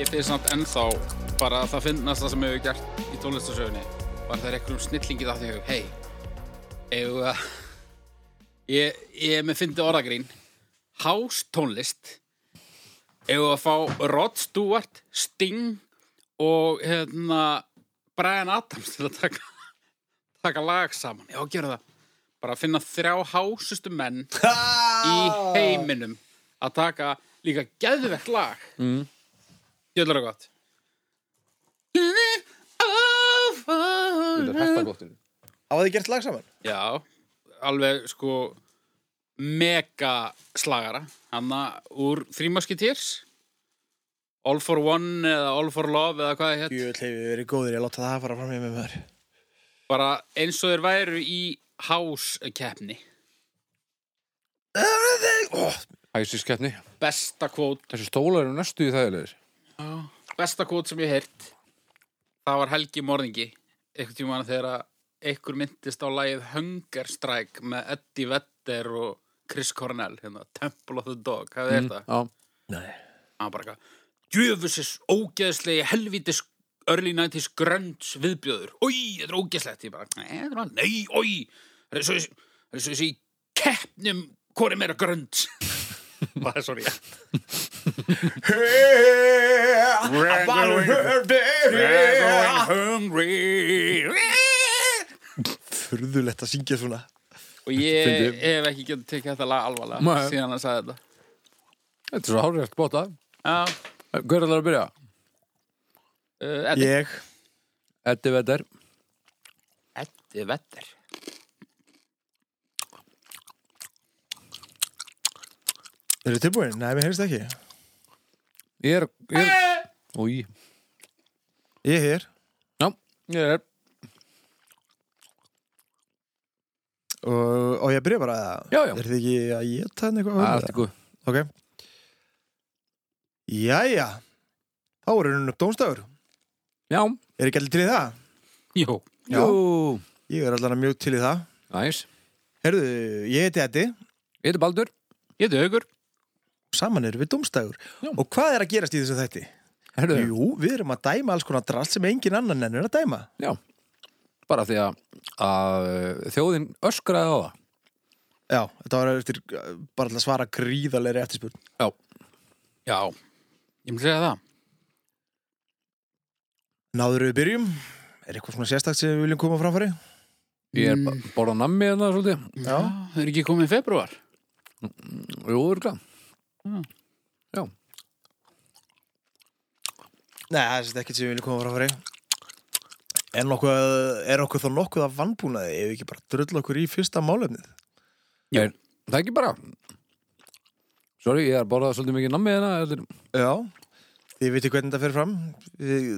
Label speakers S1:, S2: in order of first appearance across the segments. S1: ennþá bara það finnast það sem hefur gert í tónlistarsögunni bara þegar einhverjum snillingi það þegar hei, eigum við að ég, ég er með fyndi orðagrín hástónlist eigum við að fá Rod Stewart, Sting og hérna Brian Adams til að taka taka lag saman, já, gera það bara að finna þrjá hásustu menn í heiminum að taka líka geðvegt lag mm. Gjöldar það gott
S2: Þetta er hægt að gottur
S3: Hafa þið gert lag saman?
S1: Já, alveg sko mega slagara hanna úr þrýmaskitýrs All for One eða All for Love eða hvað það hétt
S3: Jú, hefur verið góðir, ég láta það fara fram hjá mér maður
S1: bara eins og þeir væru í háskeppni
S3: oh,
S2: Æsiskeppni
S1: besta kvót
S2: Þessi stólar eru næstu í þægilegir
S1: besta kvót sem ég heirt það var Helgi Morðingi einhvern tímann þegar að einhver myndist á lagið Hunger Strike með Eddie Vedder og Chris Cornell hérna, Temple of the Dog, hvað er þetta?
S2: Já
S3: Nei
S1: hann bara eitthvað djöfusis ógeðslegi helvítis early 90s grönts viðbjöður oi, þetta er ógeðslegt ég bara, nei, þetta er alveg- nei, oi það er svo það er svo þessi í keppnum hvori meira grönt bara, sorry
S3: I'm
S1: Rango-
S3: her baby
S1: hungry
S3: Furðulegt að syngja svona
S1: og ég
S2: Fyndi.
S1: hef ekki getið tekið þetta lag alvarlega
S2: Nei.
S1: síðan hann sagði þetta
S2: Þetta er svo hárið bóta
S1: Já,
S2: Hver er það að byrja?
S1: uh, Eddi
S3: Ég
S2: Eddi Vedder
S1: Eddi Vetter
S3: Eru þið tilbúin? Nei, mér heyrst ekki
S2: Ég er, ég er Új
S3: Ég er hér
S2: Já, ég er
S3: og, og ég byrja bara að
S2: Já, já.
S3: Er þið ekki að geta hann eitthvað?
S2: Það er góð
S3: Ok Jæja Þá er hann upp dómstafur
S2: Já
S3: Er ekki allir til í það?
S1: Jó,
S3: Já.
S2: Jú
S3: Ég er allan að mjög til í það
S2: Næs
S3: Herðu, ég heiti Eddi
S2: Ég heiti Baldur
S1: ég heiti Haugur
S3: Saman erum við dómstafur
S2: Já.
S3: Og hvað er að gerast í þessu þætti?
S2: Herðu
S3: Jú, við erum að dæma alls konar drast sem engin annan ennur að dæma
S2: Já Bara því að, að eh, þjóðin öskraði á það
S3: Já, þetta var eftir uh, bara til að svara gríðarlega eftirspurn
S2: Já
S1: Já, ég myndi segja það
S3: Náður við byrjum? Er eitthvað svona sérstakt sem við viljum koma á framfæri?
S2: Ég er mm. bara nammi hérna svolítið
S3: Já.
S1: Það er ekki komið í februar
S2: Jú, örgla Já
S3: Nei, það er sérst ekkert sem við viljum koma á framfæri Er nokkuð, er okkur þá nokkuð að vannbúnaði ef við ekki bara drull okkur í fyrsta málefnið?
S2: Já er, Það er ekki bara Sorry, ég er að borða svolítið mikið nammi hérna Þetta er
S3: Já, þið veitir hvernig þetta fer fram Við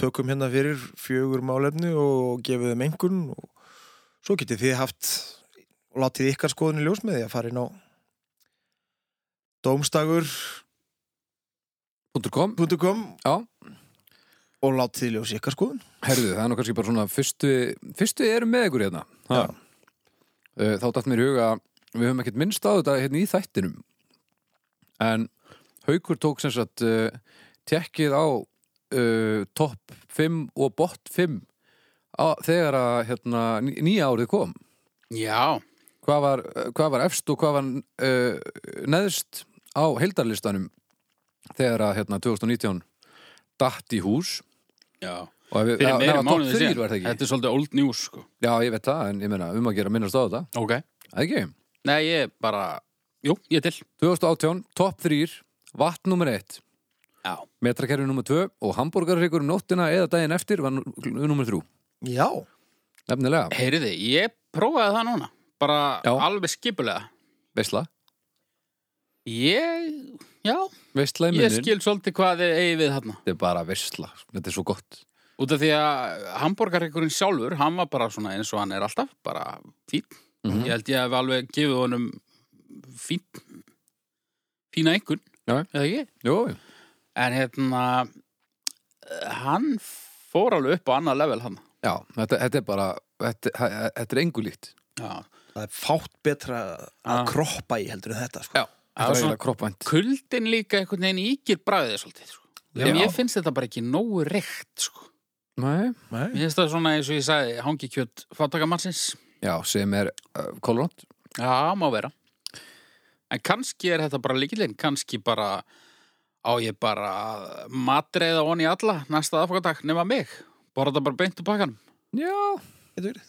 S3: tökum hérna fyrir fjögur málefni og gefum þeim engun og svo getið þið haft og látið ykkar skoðun í ljós með því að fara inn á domstagur.com
S2: punktur kom Já,
S3: og látið í ljós ykkar skoðun
S2: herðu, það er nú kannski bara svona fyrstu, fyrstu erum með ykkur hérna ha. Eh, Þá dætt mér í huga að Við höfum ekkert minnst á þetta hérna í þættinum En Haukur tók sem sagt uh, Tekkið á uh, Topp 5 og bot 5 á, Þegar að hérna, ný- nýja árið kom
S1: Já,
S2: hvað var, eh, hvað var efst og hvað var uh, neðst á heildarlistanum þegar að hérna 2019 datt í hús
S1: já
S2: og ef við,
S1: Fyrir meira mánuði
S2: þrýr
S1: síðan
S2: var það ekki
S1: Þetta er svolítið old news sko
S2: Já, ég veit það, en ég meina um að gera minnast á þetta
S1: Ok
S2: Það ekki,
S1: Nei, ég bara, jú, ég er til
S2: 2018, topp 3 vatn nummer 1,
S1: Já
S2: metrakerfi nummer 2 og hambúrgarreikur um nóttina eða daginn eftir var nummer 3,
S3: Já,
S2: nefnilega
S1: Heyriði, ég prófaði það núna Bara
S2: Já.
S1: alveg skipulega
S2: Veistla,
S1: Ég, já,
S2: veistla í
S1: ég
S2: munnin
S1: skil svolítið hvað þið eigi við þarna
S2: Þetta er bara veistla, þetta er svo gott
S1: Út af því að hambúrgarreikurinn sjálfur, hann var bara svona eins og hann er alltaf, bara fín.
S2: Mhm.
S1: Ég held ég hef alveg gefið honum fín, fína einhvern,
S2: Já.
S1: eða ekki?
S2: Jó,
S1: En hérna, hann fór alveg upp á annað level hann.
S2: já, þetta, þetta er bara þetta, þetta er engu líkt
S1: Já.
S3: það er fátt betra að
S1: Ah.
S3: kroppa í heldur en þetta sko.
S2: Já, þetta
S1: var
S2: er
S1: svona-
S2: svona kroppvænt
S1: Kuldin líka einhvern veginn ígir bræðið svolítið, sko. Já. Mér finnst þetta bara ekki nógu reykt, sko.
S2: Nei.
S3: Nei,
S1: Mér finnst það svona eins og ég sagði, hangi kjött fátakamannsins.
S2: Já, sem er uh, kolorant.
S1: Já, má vera. En kannski er þetta bara líkilinn, kannski bara á ég bara að matreiða onni alla næsta aðfokadag nema mig. Borða þetta bara beint úr pakkanum.
S2: Já,
S3: getur verið.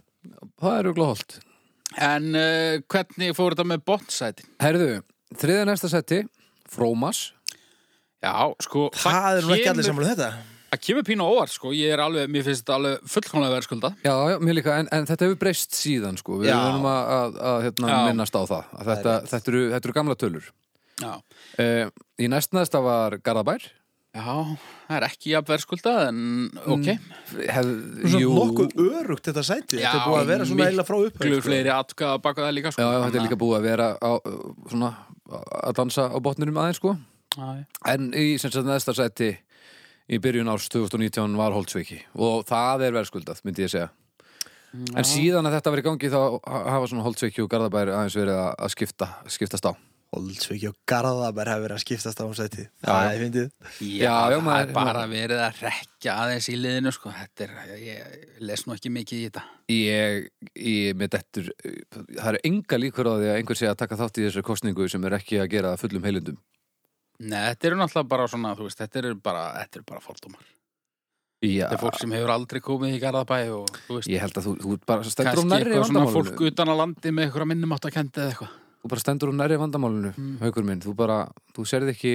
S2: það er auðvitað holdt.
S1: En uh, hvernig fór þetta með botnsæti?
S2: Herðu, þriða næsta setti, Frómas.
S1: Já, sko,
S3: Það er nú ekki
S1: kemur-
S3: allir saman um þetta.
S1: Það kemur pínu á óvart, sko, ég er alveg, mér finnst þetta alveg fullkomlega verðskulda.
S2: Já, já, mér líka, en, en þetta hefur breyst síðan, sko. Við
S3: Já.
S2: erum að, að, að hérna,
S1: Já.
S2: minnast á það. Að Þetta,
S3: rétt.
S2: þetta, eru, þetta eru gamla tölur.
S1: Já.
S2: Uh, í næstnæðasta var Garðabær.
S1: Já, það er ekki jafn verðskulda, en
S3: Mm.
S1: ok.
S2: Hef,
S3: Svo nokkuð örugt þetta sæti. Þetta
S1: Já,
S3: er búið að vera svona
S1: miklu
S3: eila frá sko. upphæð.
S1: Glur fleiri atka að baka það líka,
S2: Já,
S1: sko.
S2: já, þetta er líka búið að vera á, uh, svona, að dansa á botnirum aðeins sko
S1: búið.
S2: en í sem sagt næsta sæti í byrjun árs 2019 var Holtsveiki og það er verðskuldað, myndi ég segja en síðan að þetta verið gangi þá hafa svona Holtsveiki og Garðabær aðeins verið að- að skipta, skiptast á
S3: Holdsveiki og Garðabær hafa verið að skiptast á um sæti. Það er fyndið.
S1: Já,
S2: já,
S1: það
S2: maður-
S1: er bara verið að rekja aðeins í liðinu, sko. Þetta er, ég les nú ekki mikið í þetta.
S2: ég, ég með dettur eh, það eru enga líkur á því að einhver sé að taka þátt í þessari kostningu sem er ekki að gera það fullum heilundum
S1: Nei, þetta eru náttúrulega bara svona, þú veist, þetta eru bara, þetta eru bara fordómar.
S2: Já,
S1: Þetta er fólk sem hefur aldrei komið í Garðabæ og, þú veist,
S2: ég held að þú, þú bara stendur á
S1: kannski
S2: nærri
S1: eitthvað svona
S2: vandamálinu
S1: fólk utan að landi með eitthvað minnum átt að kenda eða eitthvað.
S2: þú bara stendur á nærri vandamálinu haukur minn, þú bara, þú serði ekki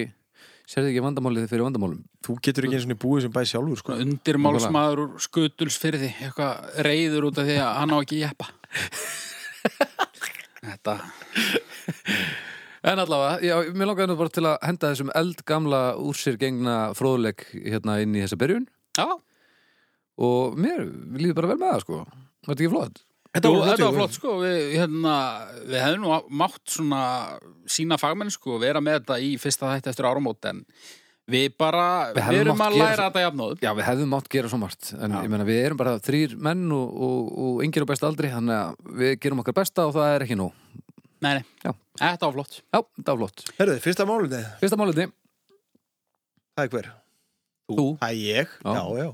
S2: serði ekki vandamálið fyrir vandamálum
S3: Þú getur ekki eins og búið sem bæði sjálfur, sko.
S1: undirmálsmaður úr skutulsfyrði eitthvað reyður út af því að hann á ekki jeppa Þetta
S2: en allavega, já, mér langaði nú bara til að henda þessum eldgamla úr sér gengna fróðleik hérna inn í þessa byrjun
S1: Já,
S2: og mér líður bara vel með það sko var þetta ekki flott?
S1: þetta, Jú,
S3: voru
S1: þetta var
S3: flott,
S1: flott sko við, hérna, við hefðum nú mátt svona sína fagmenn sko vera með þetta í fyrsta þætti eftir áramót en við bara,
S2: Við
S1: við,
S2: hefðum
S1: erum
S2: mátt
S1: að
S2: gera
S1: læra
S2: svo-
S1: þetta jafnóðum
S2: Já, við hefðum mátt gera svo margt en
S1: Já.
S2: ég meina við erum bara þrýr menn og, og, og yngir á besta aldri þannig að við gerum okkar besta og það er ekki nú
S1: Nei, nei,
S2: Já.
S1: þetta var flott
S2: Já, það var flott.
S3: Herðu, fyrsta málunni.
S2: Fyrsta málinni,
S3: Það er hver?
S2: þú,
S3: Það er ég.
S2: Já.
S3: Já, já.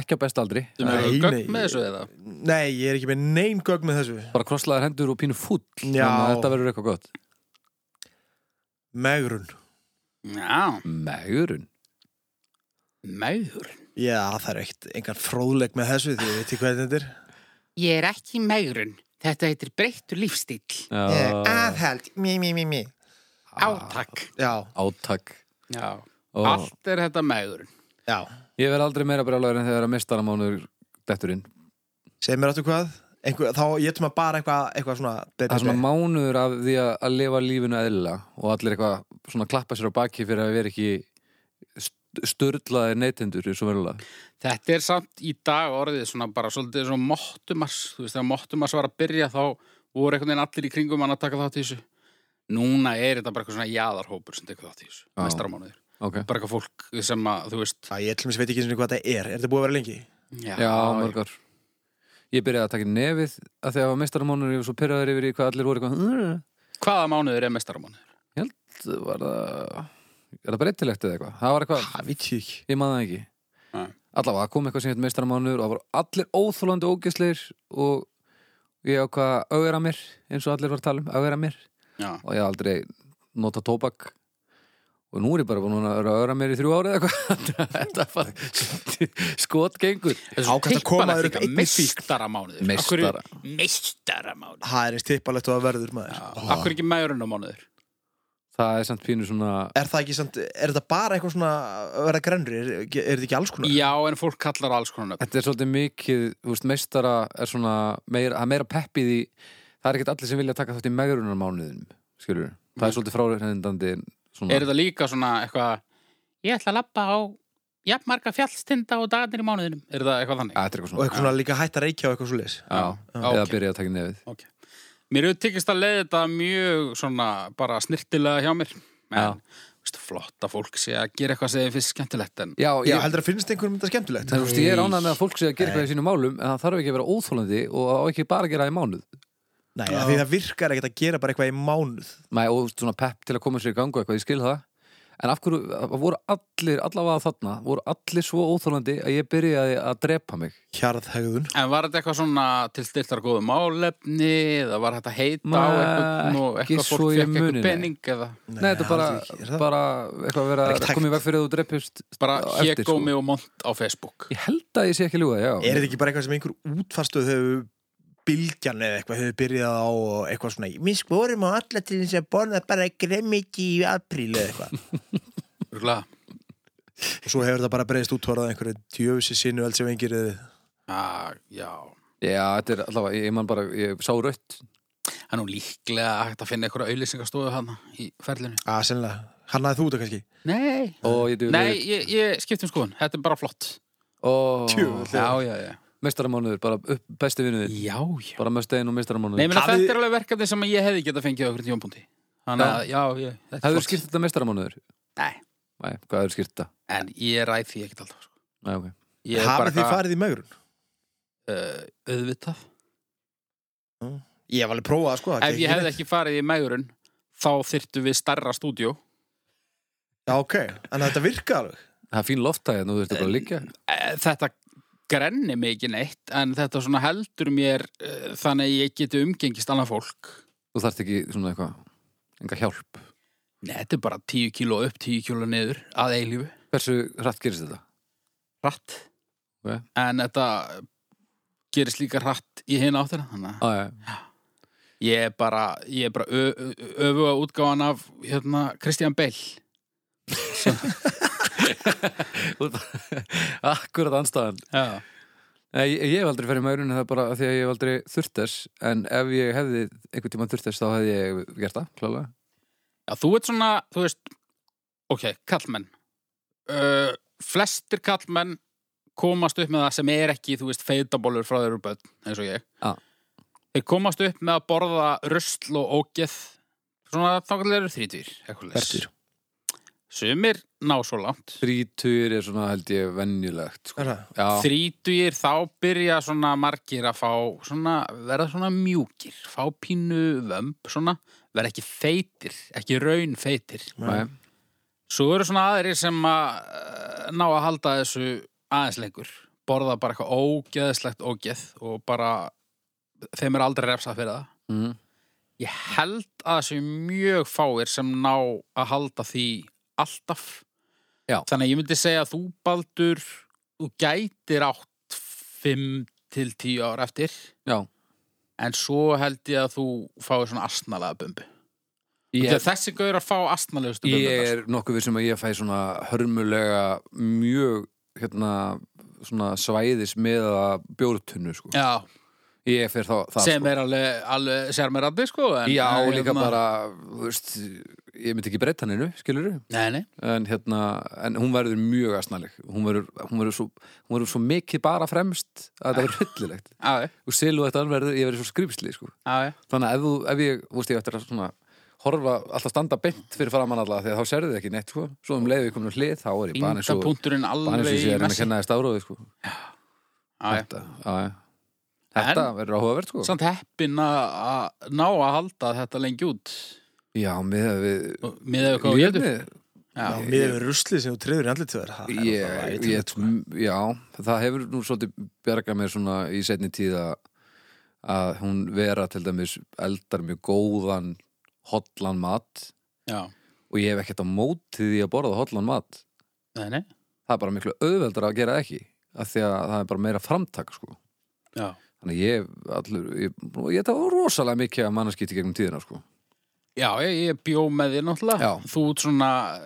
S2: ekki á besta aldri
S1: Þú með
S3: Nei,
S1: gögn
S3: nei.
S1: með þessu eða
S3: Nei, ég er ekki með neyn gögn með þessu.
S2: bara krosslaðar hendur og pínu fúll þannig
S3: Já.
S2: að þetta verður eitthvað gott
S3: Megrun.
S1: Já,
S2: Megurun
S1: meður
S3: Já, það er ekkert engan fróðleik með þessu því ég veit ekki hvað þetta er.
S1: Ég er ekki meðurinn Þetta heitir breyttur lífstíll
S3: Aðhald, mí, mí, mí, mí.
S1: Átak
S3: Ah. Já,
S2: Átak
S1: Já,
S2: Ó.
S1: allt er þetta meðurinn
S3: já.
S2: Ég verð aldrei meira brjálæður en þegar að mistaramánuður dettur inn
S3: Segð mér áttu hvað? Einhver, þá ég ætlum að bara eitthvað, eitthvað svona...
S2: Það er svona mánuður af því að, að lifa lífinu eðlilega og allir eitthvað svona klappa sér á baki fyrir að vera ekki störlaðir neytendur eins og verulega
S1: Þetta er samt í dag orðið svona bara svolítið svona móttumars, þú veist, þegar móttumars var að byrja þá voru einhvern veginn allir í kringum hann að taka þátt í þessu. Núna er þetta bara eitthvað svona jaðarhópur sem tekur þátt í þessu,
S2: Já.
S1: mestaramánuður.
S2: Ok
S1: Bara eitthvað fólk sem að, þú veist,
S3: Já, ég ætlum að veit ekki einu sinni hvað þetta er. Er þetta búið að vera lengi?
S1: já,
S2: Já, mörgar Ég byrjaði að taka í nefið að því að mistaramánuður ég var svo pyrraður yfir í hvað allir voru eitthvað "Mm."
S1: hvaða mánuður er mestaramánuður?
S2: Ég held var það Er það breytilegt eða eitthvað? Það var eitthvað
S3: Það veit ég ekki.
S2: Ég maður það ekki
S1: Nei.
S2: Allavega, það kom eitthvað sem hétt meistaramánuður og það voru allir óþólandi ógisleir og ég ákvað að augra mér eins og allir var að tala um, augra mér
S1: Já,
S2: og ég haf aldrei nota tóbak og nú er ég bara búin að vera að augra mér í þrjú árið eitthvað Þetta er bara skotgengur
S1: þessu
S3: kannski að koma þér upp einni fíkn.
S1: mestaramánuður.
S2: Meistara.
S1: Mestaramánuður.
S3: Það er eins tippalegt og það verður maður. Ó.
S1: Akkur ekki meðurinnamánuður?
S2: Það er samt pínu svona
S3: Er það ekki samt, er þetta bara eitthvað svona að vera grennri? Er, er þetta ekki alls konar?
S1: Já, en fólk kallar alls konar nöfn.
S2: Þetta er svolítið mikið, þú veist, meistara er svona meira, það er meira peppið í það er ekkert allir sem vilja taka þátt í megrunarmánuðinum skilur, það er svolítið fráreindandi
S1: Er þetta líka svona eitthvað, ég ætla að lappa á jafnmarga fjallstinda og dagarnir í mánuðinum? Er það eitthvað þannig?
S2: Já, þetta er
S3: Og
S2: eitthvað svona
S3: eitthvað svona líka hætt að reykja og eitthvað svo leis.
S2: Já,
S1: Já,
S2: eða
S1: ok.
S2: byrja að taka í nefið
S1: Ok. Mér hefur tekist að leiða þetta mjög svona bara snirtilega hjá mér.
S2: Já.
S1: En, veist, flott að fólk sé að gera eitthvað sem þeim finnst skemmtilegt. En
S2: Já,
S3: Já,
S2: ég,
S3: heldur að finnst einhverjum þetta skemmtilegt?
S2: Þú veist, ég er ánægð með að fólk sé að gera eitthvað í sínum málum en það þarf ekki að vera óþólandi og á ekki bara að gera það í mánuð
S3: Nei, af því það virkar ekkert að gera bara eitthvað í mánuð.
S2: Mæ, og þú veist, svona pepp til að koma sér í gangu eitthvað, ég skil það en af hverju það voru allir, allavega þarna voru allir svo óþólandi að ég byrjaði að drepa mig
S3: hjarðhegðun
S1: En var þetta eitthvað svona til styrtar góðu málefni eða var þetta heita á
S2: Nei,
S1: eitthvað og
S2: ekki
S1: eitthvað
S2: svo
S1: fólk
S2: ég
S1: fekk
S2: muni, nei.
S1: eitthvað pening eða
S2: Nei, þetta er bara, bara eitthvað að
S3: Það
S2: vera
S3: er
S2: að
S3: ekki
S2: koma í
S3: hægt.
S2: veg fyrir að þú drepist
S1: bara
S2: á eftir, sko.
S1: hégómi og mont á Facebook
S2: Ég held að ég sé ekki ljúga, já
S3: Er þetta ekki bara eitthvað sem einhver útfastuð hefur bylgjan eða eitthvað hefur byrjað á og eitthvað svona, minn skorum á alla til þess að borða bara gremmiki í apríl eða eitthvað.
S1: Rúlega
S3: og svo hefur það bara breyðst útvarað einhverju djöfusi sinu alls sem engir eða
S1: ah, Já
S2: Já, þetta er allavega, ég- ég man bara, ég sá rött
S1: Það er nú líklega hægt að finna einhverja auðlýsingastóðu hana í ferlinu
S3: að Ah, sennilega, hann aðeð þú þetta kannski
S1: Nei
S2: og ég duði
S1: Nei, ég, ég skipt um skoðun, þetta er bara flott
S2: og
S3: Djöfull.
S1: Já, já, já
S2: mestaramánuður, bara upp, besti vinnuðin
S1: Já, já
S2: bara möstein og
S1: Nei,
S2: mestaramánuður
S1: menn að
S3: Hafið-
S1: þetta er alveg verkefni sem ég hefði getað fengið á okkur tjónbúndi Þannig að, já, já, þetta er
S2: Hefur
S1: flott
S2: skipt þetta mestaramánuður?
S1: Nei,
S2: Nei, hvað hefur skipt þetta?
S1: en ég ræð því ekkert alltaf sko.
S2: Nei, ok
S1: Ég er bara
S3: Hafið þið
S1: eitthvað,
S3: farið í megrun?
S1: uh, auðvitað
S3: Ég hef alveg prófað sko, það
S1: Ef
S3: gekk
S1: ég hefði
S3: neitt.
S1: ekki farið í megurinn þá þyrtu við starra stúdjó
S3: Já, ok, en þetta virka alveg
S2: Það er fín loftæð, nú þurftu bara að liggja
S1: Eh, Þetta grenni mig ekki neitt en þetta svona heldur mér eh, þannig að ég geti umgengist annað fólk
S2: Þú þarft ekki svona eitthvað enga hjálp
S1: Nei, þetta er bara 10 kíló upp, 10 kíló niður að eilífu
S2: Hversu hratt gerist þetta?
S1: Hratt
S2: Ok.
S1: En þetta gerist líka hratt í hinn áttina þannig að
S2: Ah, ja.
S1: ég er bara, ég er bara ö- ö- öfuga útgáfan af hérna Kristján Bale
S2: Akkurat anstæðan
S1: Já,
S2: Nei, ég, ég hef aldrei ferið maðurinn það er bara af því að ég hef aldrei þurft þess en ef ég hefði einhvern tímann þurft þess þá hefði ég gert það, klálega
S1: Já þú ert svona, þú veist ok, kallmenn uh, flestir kallmenn komast upp með það sem er ekki, þú veist, feitabólur frá þeir úr börn, eins og ég
S2: Já.
S1: Þeir komast upp með að borða rusl og ógeð svona þákallega eru þrítýr
S2: Þrír.
S1: Sumir ná svo langt
S2: Þrítur er svona held ég venjulegt sko.
S3: Er það?
S2: Já,
S1: Þrítugir þá byrja svona margir að fá svona, verða svona mjúkir, fá pínu vömb svona, verða ekki feitir, ekki raun feitir.
S2: nei,
S1: Svo eru svona aðrir sem að eh, ná að halda þessu aðeins lengur, borða bara eitthvað ógeðslegt ógeð og bara þeim er aldrei refsað fyrir það.
S2: mm,
S1: Ég held að það séu mjög fáir sem ná að halda því alltaf.
S2: Já.
S1: Þannig að ég myndi segja að þú, Baldur, þú gætir átt 5 til 10 ár eftir.
S2: já
S1: En svo held ég að þú fáir svona astnalega bumbu.
S2: Ég,
S1: Þegar þessi gauður að fá astnalegustu bumbu.
S2: ég er nokkuð við sem að ég fæ svona hörmulega mjög hérna, svona svæðis með að bjórtunnu sko.
S1: Já,
S2: ég fer þá það
S1: sem
S2: sko.
S1: er alveg, alveg sérmerandi, sko. En,
S2: Já,
S1: en,
S2: líka
S1: hérna,
S2: bara, þú veist, ég myndi ekki breyta henninu, skilur
S1: Nei, nei.
S2: en, hérna, en hún verður mjög aðsnaleg hún verður, hún, verður svo, hún verður svo mikið bara fremst að þetta verður hyllilegt
S1: Já, já,
S2: og silu þetta verður, ég verður svo skrifsli sko.
S1: já, já.
S2: þannig að ef, þú, ef ég, þú veist, ég eftir að svona horfa alltaf standa beint fyrir framann alla því að þá serðu þið ekki neitt sko. svo um leiðu komin á hlið, þá er ég bara eins
S1: Índa
S2: og
S1: punkturinn
S2: bara eins og
S1: alveg
S2: ég
S1: í
S2: sé að reyna að
S1: messi.
S2: kenna þér stáróði sko.
S1: Já, já.
S2: þetta, já, já. þetta verður áhugavert sko.
S1: Samt heppin að að ná að halda þetta lengi út.
S2: já, með að við
S1: Miðað við hvað þú getur
S2: Lifnið-
S1: Já,
S3: Já, Mér hefur ruslið sem þú treður í andlit til þér það er náttúrulega
S2: ég, ég,
S3: ætilegt, sko.
S2: m- já, það hefur nú svolítið bjargað mér svona í setni tíð að- að hún vera til dæmis eldar mjög góðan hotlan mat
S1: já,
S2: og ég hef ekkert á móti því að borða hotlan mat
S1: nei, nei
S2: það er bara miklu auðveldar að gera það ekki af því að það er bara meira framtak sko.
S1: já.
S2: þannig að ég allur, ég, ég það var rosalega mikið að mannaskýti gegnum tíðina sko.
S1: já, ég, ég bjó með þér náttúrulega
S2: Já.
S1: Þú ert svona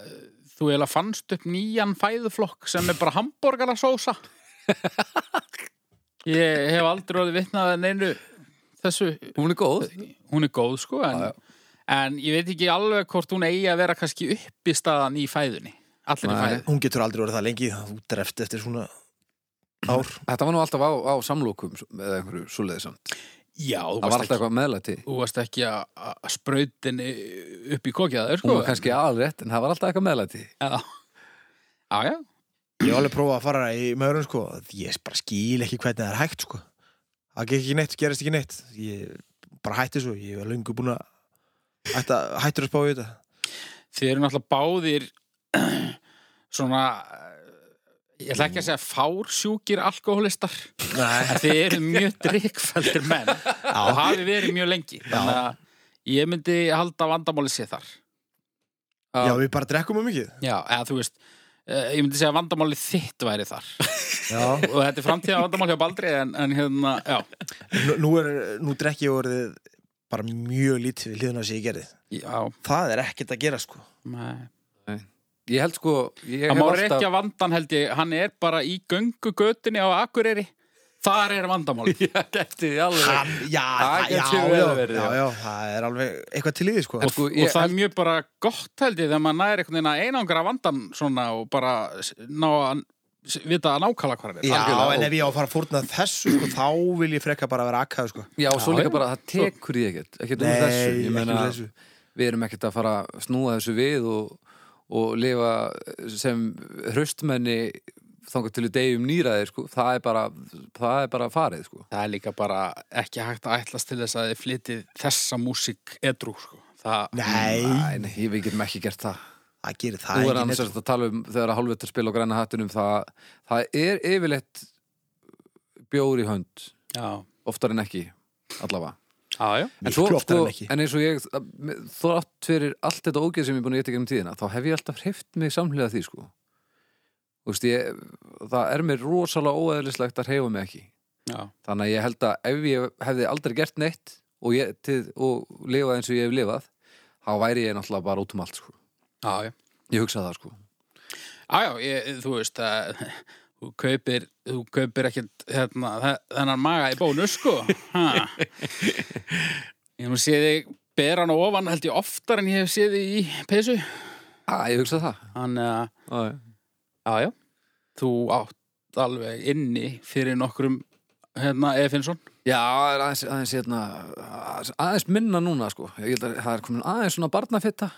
S1: Þú eiginlega fannst upp nýjan fæðuflokk sem er bara hambúrgarasósa Ég hef aldrei orðið vitnað en einu þessu
S2: hún er góð
S1: Eh, Hún er góð sko en,
S2: Já, já.
S1: en ég veit ekki alveg hvort hún eigi að vera kannski upp í staðan í fæðunni Allir í
S2: Nei.
S1: fæðu
S3: Hún getur aldrei orðið það lengi þú dreft eftir svona ár
S2: þetta var nú alltaf á, á samlókum eða einhverju svoleiðisamt
S1: Já, þú
S2: það var
S1: varst,
S2: alltaf
S1: ekki,
S2: eitthvað meðlæti
S1: þú varst ekki að, að sprautinni upp í kokjaður sko
S2: hún var kannski aðalrétt en það var alltaf eitthvað meðlæti
S1: Já, já, já.
S3: Ég hef alveg prófað að fara í maðurinn sko ég bara skil ekki hvernig það er hægt sko Það gekk ekki neitt, gerist ekki neitt Ég bara hætti svo, ég hef löngu búin að hætta, hættur að spá í þetta
S1: Þið eru náttúrulega báðir svona eh, ég ætla ekki að segja fársjúkir alkoholistar en þið eru mjög drikkfældir menn og hafi verið mjög lengi þannig að ég myndi halda vandamáli sé þar
S2: Já.
S3: Já, við bara drekkum um mikið
S1: já, eða þú veist eh, ég myndi segja að vandamáli þitt væri þar
S3: Já,
S1: og þetta er framtíða vandamál hjá Baldri en, en hérna, já,
S3: nú, nú er, nú drekki ég orðið bara mjög lítið við hliðuna sem ég gerði
S1: já
S3: Það er ekkert að gera sko
S1: nei.
S2: Ég held sko ég
S1: það
S2: hef
S1: má
S2: alltaf-
S1: rekja vandan held ég hann er bara í göngugötunni á Akureyri þar er vandamáli
S2: Já, gæti því alveg
S3: Hann, já,
S2: Það
S3: það- já,
S2: getur
S3: já,
S2: vel
S3: já,
S2: verið, já.
S3: já, það er alveg eitthvað til í því sko
S2: En sko,
S1: og
S2: ég,
S1: það er mjög bara gott held ég þegar maður næri einhvern veginn að einangra vandan svona og bara s- ná að s- vita að nákvæmlega hvað hann er
S3: Já,
S2: algjörlega.
S3: en ef ég á að fara að fórna þessu sko, þá vil ég frekka bara vera akkaðu sko
S2: Já, og svo
S1: Já,
S2: líka
S1: já.
S2: bara að það tekur því ekkert ekkert úr þessu,
S3: ekki
S2: ég
S3: úr
S2: meina
S3: þessu.
S2: við erum ekkert að fara að snúa þessu við og, og lifa eh, sem hraustmenni þangar til við deyjum nýraðir sko. það, er bara, það er bara farið sko.
S1: það er líka bara ekki hægt að ætlast til þess að þið flytið þessa músík edru sko. það,
S3: Nei,
S2: Æ, nei, ég- við getum ekki gert það
S3: það gerir
S2: Þú
S3: það
S2: er
S3: ekki
S2: annars
S3: neitt,
S2: að tala um þegar að hálfveitt spil á græna hattinum það, það er yfirleitt bjór í hönd
S1: já,
S2: oftar en ekki, allavega
S1: já, já
S2: En,
S3: miklu
S2: svo,
S3: oftar
S2: sko,
S3: en ekki
S2: en eins og ég, þrátt fyrir allt þetta ógeð sem ég er búin að geta gegnum tíðina, þá hef ég alltaf hreift mig samhliða því, sko. Þú veist, ég, það er mér rosalega óeðlislegt að hreyfa mig ekki.
S1: já,
S2: Þannig að ég held að ef ég hefði aldrei gert neitt og, ég, til, og lifað eins og ég hef lifað, þá væri ég náttúrulega bara út um allt, sko.
S1: já, já.
S2: Ég hugsaði það, sko.
S1: Já, já, ég, þú veist að þú kaupir, þú kaupir ekkert hérna, þe- þennan maga í bónus, sko. Ha. Ég nú sé þig bera hann á ofan held ég oftar en ég hef séð þig í peysu.
S2: Æ, ég hugsaði það.
S1: Þannig að,
S2: Æ,
S1: já, já, þú átt alveg inni fyrir nokkrum, hérna, Efinsson.
S2: Já, það er aðeins, aðeins, aðeins, aðeins minna núna, sko. Ég, held að það er komin aðeins svona barnafitta,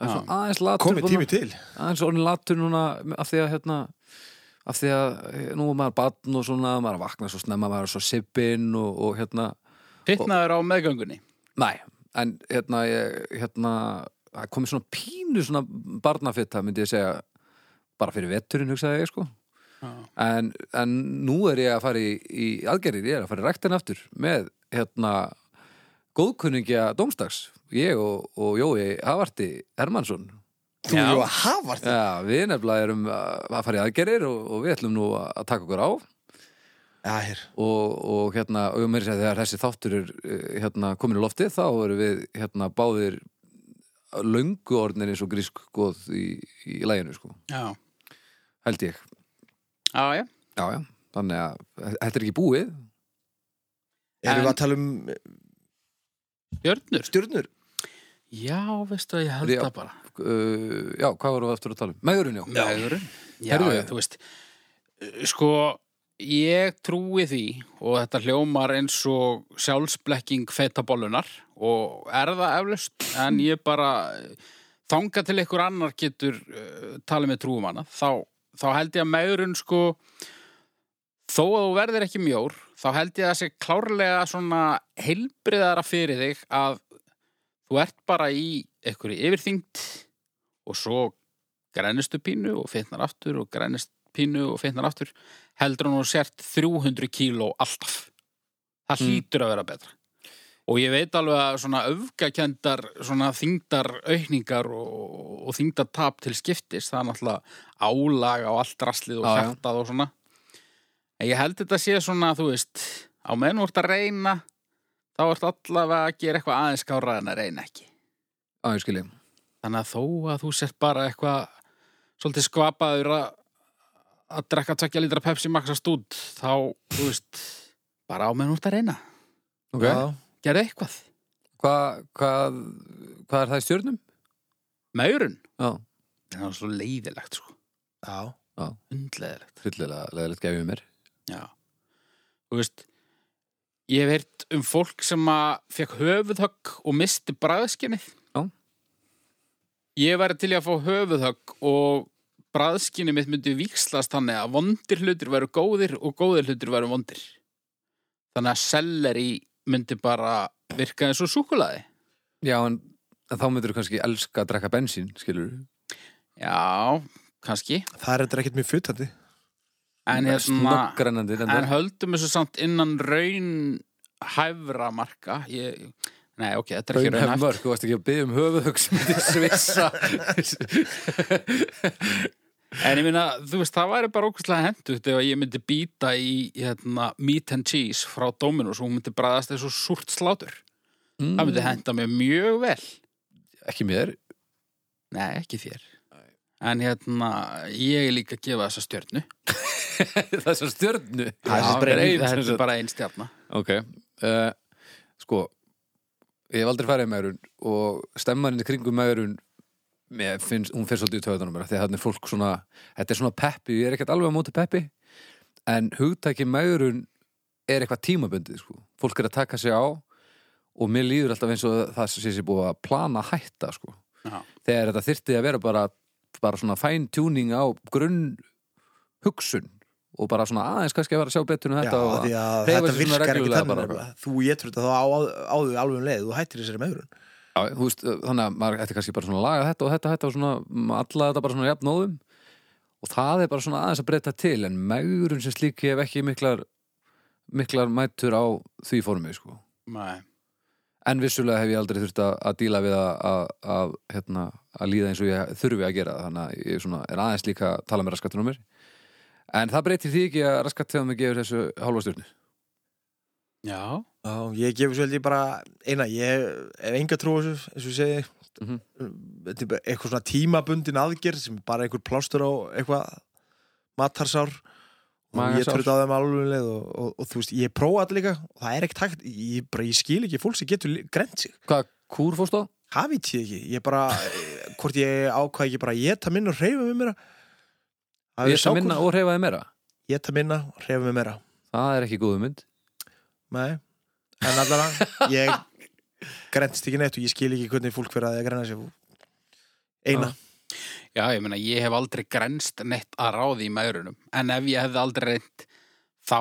S2: aðeins, svona aðeins latur.
S3: Komið tími til
S2: aðeins orðin latur núna af því að hérna af því að eh, nú er maður batn og svona maður er að vakna svo snemma, maður er svo sippinn og, og hérna,
S1: Pittnaður á meðgöngunni.
S2: næ en hérna, ég, hérna það er komið svona pínu svona barnafitta myndi ég segja, bara fyrir veturinn hugsaði ég sko
S1: Já.
S2: en, en nú er ég að fara í, í aðgerðir, ég er að fara í ræktin aftur með hérna góðkunningja dómstags ég og, og Jói Havarti Hermansson
S3: Þú
S1: Já.
S3: eru að hafa þetta
S2: Já, við nefnilega erum uh, að að fara í aðgerir og, og við ætlum nú að að taka okkur á og,
S3: Já, hér
S2: og hérna, og mér sér þegar þessi þáttur er eh, hérna, komin í loftið þá erum við hérna báðir löngu orðnir eins og grísk góð í, í læginu, sko,
S1: Já,
S2: held ég
S1: já, já.
S2: Já, já, þannig að þetta er ekki búið
S3: Erum við
S1: En-
S3: að tala um
S1: Björnur.
S3: stjórnur?
S1: Já, veistu að ég held
S2: Já.
S1: það bara.
S2: uh, Já, hvað vorum við aftur að tala um? Megurinn, já
S1: Megurinn? Já,
S2: Heyrðu.
S1: já, þú veist Sko, ég trúi því og þetta hljómar eins og sjálfsblekking feitabólunar og er það eflaust en ég bara þanga til einhver annar getur uh, talið með trúum hana þá, þá held ég að megurinn sko þó að þú verðir ekki mjór þá held ég að það sé klárlega svona heilbriðara fyrir þig að þú ert bara í einhverju yfirþyngd og svo grænistu pínu og fitnar aftur og grænist pínu og fitnar aftur heldur hann og sért 300 kíló alltaf. Það
S2: Mm.
S1: hlýtur að vera betra. Og ég veit alveg að svona öfgakendar, svona þyngdar aukningar og, og þyngdar tap til skiptis, það er náttúrulega álag á allt raslið og
S2: Já, já.
S1: hjartað og svona. En ég held þetta sé svona, þú veist, á menn úr að reyna, þá ert allavega að gera eitthvað aðeins kára en að reyna ekki.
S2: Já, ég skilji
S1: Þannig að þó að þú sért bara eitthvað svolítið skvapaður að að drekka tvekja lítra Pepsi Max að stúd þá, þú veist, bara á menn úr að reyna.
S2: okay.
S1: Gerðu eitthvað.
S2: Hvað hva, hva er það í stjörnum?
S1: Maurun.
S2: Já,
S1: Það er svo leiðilegt, sko.
S3: Já
S1: Undleðilegt.
S2: hryllilega leðilegt gefið mér
S1: Já. Þú veist, ég hef heyrt um fólk sem að fekk höfuðhögg og misti bræðskinnið.
S2: Já.
S1: Ég væri til í að fá höfuðhögg og bræðskinnið mitt myndi víkslast þannig að vondir hlutir væru góðir og góðir hlutir væru vondir. Þannig að selleri myndi bara virka eins og súkulaði.
S2: Já, en, en þá myndir þú kannski elska að drekka bensín, skilur
S1: Já, kannski
S3: Það er þetta ekkert mjög futtandi.
S1: En, hérna,
S2: Snöggrænandi
S1: en höldum þessu samt innan raunhæfra marka ég, Nei, ok, þetta er ekki
S2: Raunhæf
S1: raunhæft
S2: mörg, þú varst ekki að byggja um höfuðhug sem þetta svissa
S1: En ég minna, þú veist, það væri bara ókvæslega hendugt ef að ég myndi býta í hérna, meat and cheese frá Dominus og hún myndi bræðast þessu súrt slátur Það myndi henda mér mjög vel
S2: Hmm. Ekki mér
S1: Nei, ekki þér En hérna, ég er líka að gefa þessa stjörnu
S2: Þessar stjörnu
S1: Já,
S2: Já,
S1: þetta er ein-
S2: sem
S1: þetta
S2: sagt.
S1: er bara ein stjörna
S2: Ok, uh, sko ég hef aldrei farið í megrun og stemmarinn í kringum megrun mér finnst, hún fyrir svolítið í töðunum mér, af því að þannig er fólk svona, þetta er svona peppi ég er ekkert alveg á móti peppi en hugtæki megrun er eitthvað tímabundið, sko, fólk er að taka sig á og mér líður alltaf eins og það sé sér búið að plana að hætta sko,
S1: Já.
S2: þegar þetta þyrfti að vera bara, bara svona fine tuning á grunn hugsun og bara svona aðeins kannski að vera að sjá betur en
S3: Já,
S2: þetta og
S3: því að
S2: hreyfa
S3: þetta
S2: sig svona
S3: virkar ekki
S2: reglulega
S3: þannig.
S2: bara.
S3: nefnilega. Þú getur þetta þá á, á því alveg um leið, þú hættir þessari meðurinn.
S2: Já, þú veist, eh, þannig að maður ætti kannski bara svona að laga þetta og þetta og þetta og svona m, alla þetta bara svona jafnóðum og það er bara svona aðeins að breyta til en megrun sem slík ég hef ekki miklar miklar mætur á því formi sko.
S1: Nei,
S2: en vissulega hef ég aldrei þurft að, að díla við að, að, að, hérna, að líða eins og ég þurfi að gera þannig að ég svona, er aðeins líka að tala með raskatunum mér en það breytir því ekki að raskatunum mér gefur þessu hálfa stjórnu
S1: já,
S3: Já, ég gefur svo held ég bara eina, ég er enga trú á þessu, eins og ég segi
S2: Mhm.
S3: þetta er bara eitthvað svona tímabundin aðgerð sem er bara einhver plástur á eitthvað matarsár og ég
S2: Magasár.
S3: trúið á þeim alveg um leið og, og, og þú veist, ég prófa allir líka og það er ekkert hægt, ég, bara, ég skil ekki fólk sem getur grent sig,
S2: Hvað kúr fórst á?
S3: hafið ég ekki ég bara, eh, hvort ég ákvað ekki bara ég ta minna og reyfa með mér
S2: Ég ætla minna og reyfaði meira
S3: ég ta minna og reyfa með mér
S2: Það er ekki góðu mynd
S3: Nei, en allavega ég grennst ekki neitt og ég skil ekki hvernig fólk verið að því að grenna sér eina,
S1: já, ég meina, ég hef aldrei grenst neitt að ráði í maðurunum En ef ég hefði aldrei reynd, þá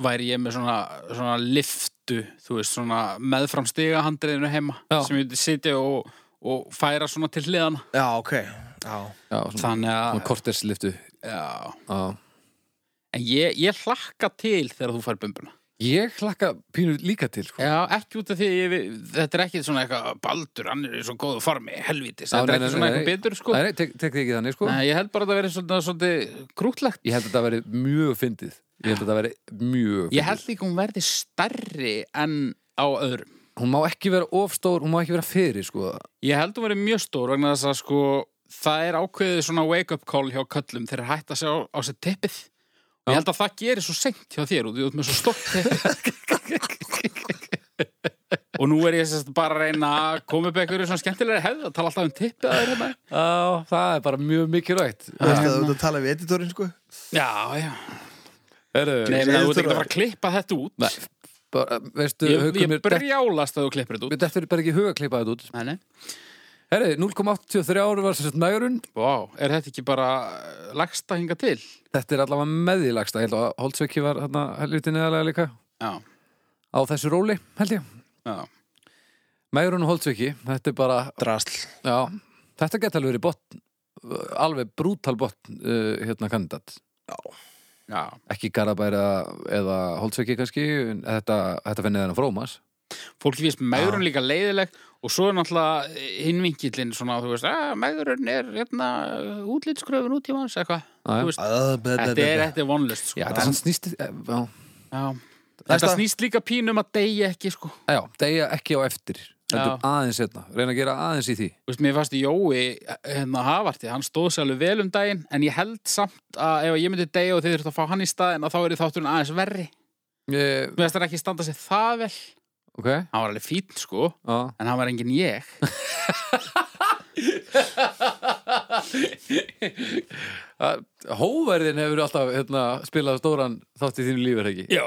S1: væri ég með svona, svona liftu, þú veist, svona meðframstiga handriðinu heima
S2: Já.
S1: sem ég myndi sitja og, og færa svona til hliðan
S3: já ok já.
S2: Já, svona,
S1: Þannig
S2: svona
S1: að,
S2: kortersliftu
S1: já,
S2: Já
S1: en ég, ég hlakka til þegar þú fær bumbuna
S2: Ég hlakka pínu líka til sko.
S1: Já, ekki út af því, að ég, þetta er ekki svona eitthvað baldur, hann er í svo góðu formi, helvítis,
S2: Já,
S1: þetta er
S2: nei,
S1: ekki
S2: nei,
S1: svona
S2: nei,
S1: eitthvað
S2: nei.
S1: betur, sko
S2: Nei, nei, tek, tek þið ekki þannig sko.
S1: Nei, ég held bara að það verið svona, svona krútlegt
S2: Ég held að þetta verið mjög fyndið Ég held að þetta verið mjög fyndið
S1: Ég held líka hún verði stærri en á öðrum.
S2: Hún má ekki vera ofstór, hún má ekki vera fyrir sko.
S1: Ég held hún verði mjög stór vegna þess að sko það er ákveðið svona wake-up call hjá köllum þegar hætt að sjá á sér teppið. Og Ég held að það gerir svo seint hjá þér og þú ert með svo stórt teppið. og nú er ég sérst bara að reyna að koma upp eitthvað svona skemmtilega hefð að tala alltaf um teppið að þeirra þetta.
S2: Já, það er bara mjög mikilvægt
S3: þú veist
S1: Hérna.
S3: að þú ert að tala við editorinn sko
S1: Já, já. Nei,
S2: Heru,
S1: menn, þú ert ekki að fara að klippa þetta út.
S2: Nei, bara, Veistu,
S1: Ég,
S2: haukum
S1: ég
S2: mér dett-
S1: brjálast að þú klippir þetta út.
S2: Mér deftur bara ekki í hug að klippa þetta út
S1: Nei, nei.
S2: Herri, 0,83 ári var sérst nægurinn
S1: Vá, er þetta ekki bara lagsta hinga til?
S2: Þetta er allavega meðilegsta Ég held að Holtzveiki var hérna helviti neðalega líka
S1: Já,
S2: Á þessu róli, held ég
S1: já.
S2: Megrun og Holtzveiki, þetta er bara
S3: drasl,
S2: Já, þetta geti alveg verið botn alveg brútal botn uh, hérna kandidat,
S1: Já,
S2: ekki Garabæra eða Holtzveiki kannski en þetta, þetta finnir þennan frómas
S1: fólki finnst meðurinn líka leiðileg og svo er náttúrulega hinvinkillin svona, þú veist, að meðurinn er hérna útlitskröfun út í manns eitthvað,
S2: Já, já.
S1: þú veist, þetta er,
S3: þetta
S1: þetta er vonlust, sko.
S2: Já, þetta er sann snýst eh, Já,
S1: Já. Þetta
S3: Næsta.
S1: snýst líka pínum að deyja ekki, sko.
S2: já deyja ekki á eftir heldur
S1: Já.
S2: aðeins hérna, reyna að gera aðeins í því
S1: Þú veist, mér fannst Jói, hérna Havarti, hann stóð sér alveg vel um daginn, en ég held samt að ef ég myndi deyja og þið þurft að fá hann í staðin, að þá er þátturinn aðeins verri.
S2: eh,
S1: Mér finnst það ekki standa sér það vel.
S2: Ok, já,
S1: Hann var alveg fín, sko, en hann var engin ég.
S2: Að- Hóverðin hefur alltaf hérna, spilað stóran þátt í þínu lífur ekki
S1: Já,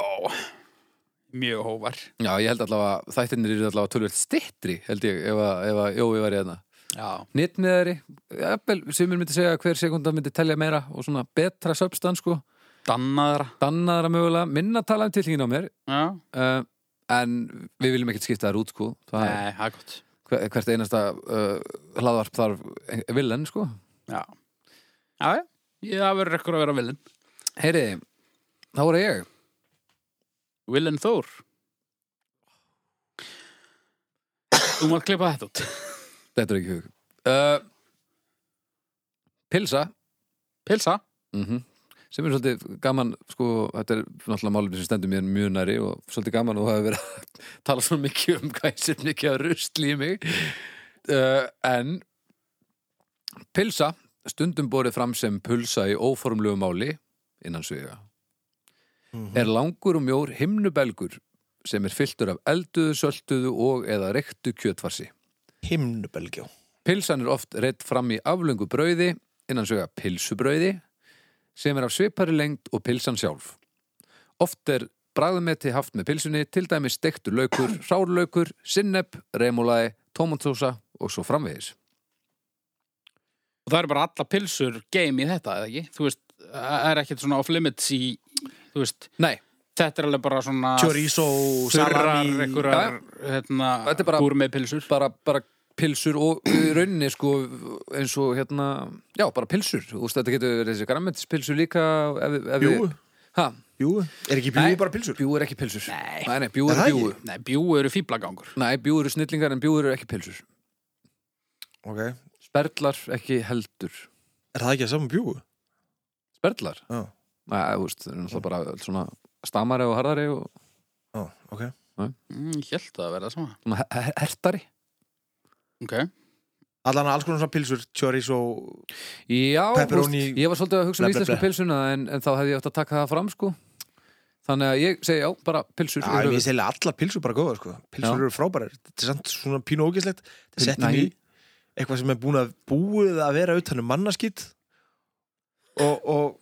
S1: mjög hóvar.
S2: Já, ég held allavega, þættinir eru allavega tölvöld stittri, held ég, ef að, ef að Jói var hérna
S1: Já.
S2: nýttmiðari, sumir myndi segja að hver sekunda myndi telja meira og svona betra substans sko,
S1: Dannaðra.
S2: dannaðara mögulega, minna tala um tilhingin á mér
S1: Já.
S2: uh, en við viljum ekkert skipta þær út sko, það er
S1: Nei, það er gott.
S2: hver- hvert einasta uh, hlaðvarp þarf en- villan sko
S1: Já, já, já. Ég, það verður ekkur að vera Willin.
S2: Heyri, þá er það ég
S1: Willin Þór. Þú mátt klippa þetta út.
S2: Þetta er ekki hug uh, Pilsa
S1: Pilsa.
S2: -hmm. sem er svolítið gaman sko, þetta er náttúrulega málefni sem stendur mér mjög næri og svolítið gaman og það hefur verið að tala svo mikið um hvað ég sér mikið að rusli í mig uh, en pilsa stundum borið fram sem pulsa í óformlegu máli innan sviga er langur og mjór himnubelgur sem er fylltur af elduðu, sölduðu og eða reyktu kjötfarsi
S3: Himnubelgjó.
S2: Pilsan er oft reitt fram í aflöngu brauði innan sögja pilsubrauði sem er af svipari lengd og pilsan sjálf. Oft er bragðmeti haft með pilsunni til dæmi stektur laukur, sárlaukur, sinnepp, remulaði, tómatósa og svo framvegis.
S1: Og það eru bara alla pilsur game í þetta, eða ekki? Þú veist, það er ekkert svona off-limits í, þú veist,
S2: Nei,
S1: þetta er alveg bara svona
S3: Chorizo,
S1: þurrar,
S3: salami.
S1: einhverjar, hérna,
S2: Þetta er bara-
S1: gourmet pilsur.
S2: bara, bara pilsur og í rauninni sko eins og hérna, já, bara pilsur. Þú veist, þetta getur verið þessi grammetis líka. Ef, ef
S3: Bjúgu?
S2: Hæ?
S3: Jú, er ekki
S2: Nei.
S3: bjúi bara pilsur?
S2: Bjú er ekki pilsur.
S1: Nei.
S2: Nei, nei, bjú
S3: Er
S2: er
S3: það
S2: bjú.
S3: ekki?
S1: Nei, bjú eru fíblagangur.
S2: Nei, bjú eru snillingar en bjú eru ekki pilsur.
S3: Ok. Er
S2: Sperlar ekki heldur.
S3: það ekki að um saman bjúi?
S2: Sperlar?
S3: Já.
S2: Nei, þú veist, það er náttúrulega bara öll svona stamari og harðari og
S3: Já, ok.
S1: Mm, ég held það að vera það sama.
S2: svona her- her- hertari.
S1: Ok.
S3: Allan alls konar svona pilsur, chorizo,
S2: Já, þú
S3: Pepperoni-
S2: veist, ég var svolítið að hugsa
S3: Bla,
S2: um
S3: bla,
S2: íslensku
S3: bla.
S2: pilsuna en, en þá hefði ég átt að taka það fram, sko. Þannig að ég segi, já, bara pilsur.
S3: Já,
S2: eru-
S3: ég segi allar pilsur bara góða, sko. Pilsur
S2: Já.
S3: eru frábærar. Þetta er samt svona pínu ógislegt. Þetta er
S2: Pil-
S3: sett inn í
S2: Nei.
S3: eitthvað sem er búin að búið að vera utanum mannaskýtt og, og,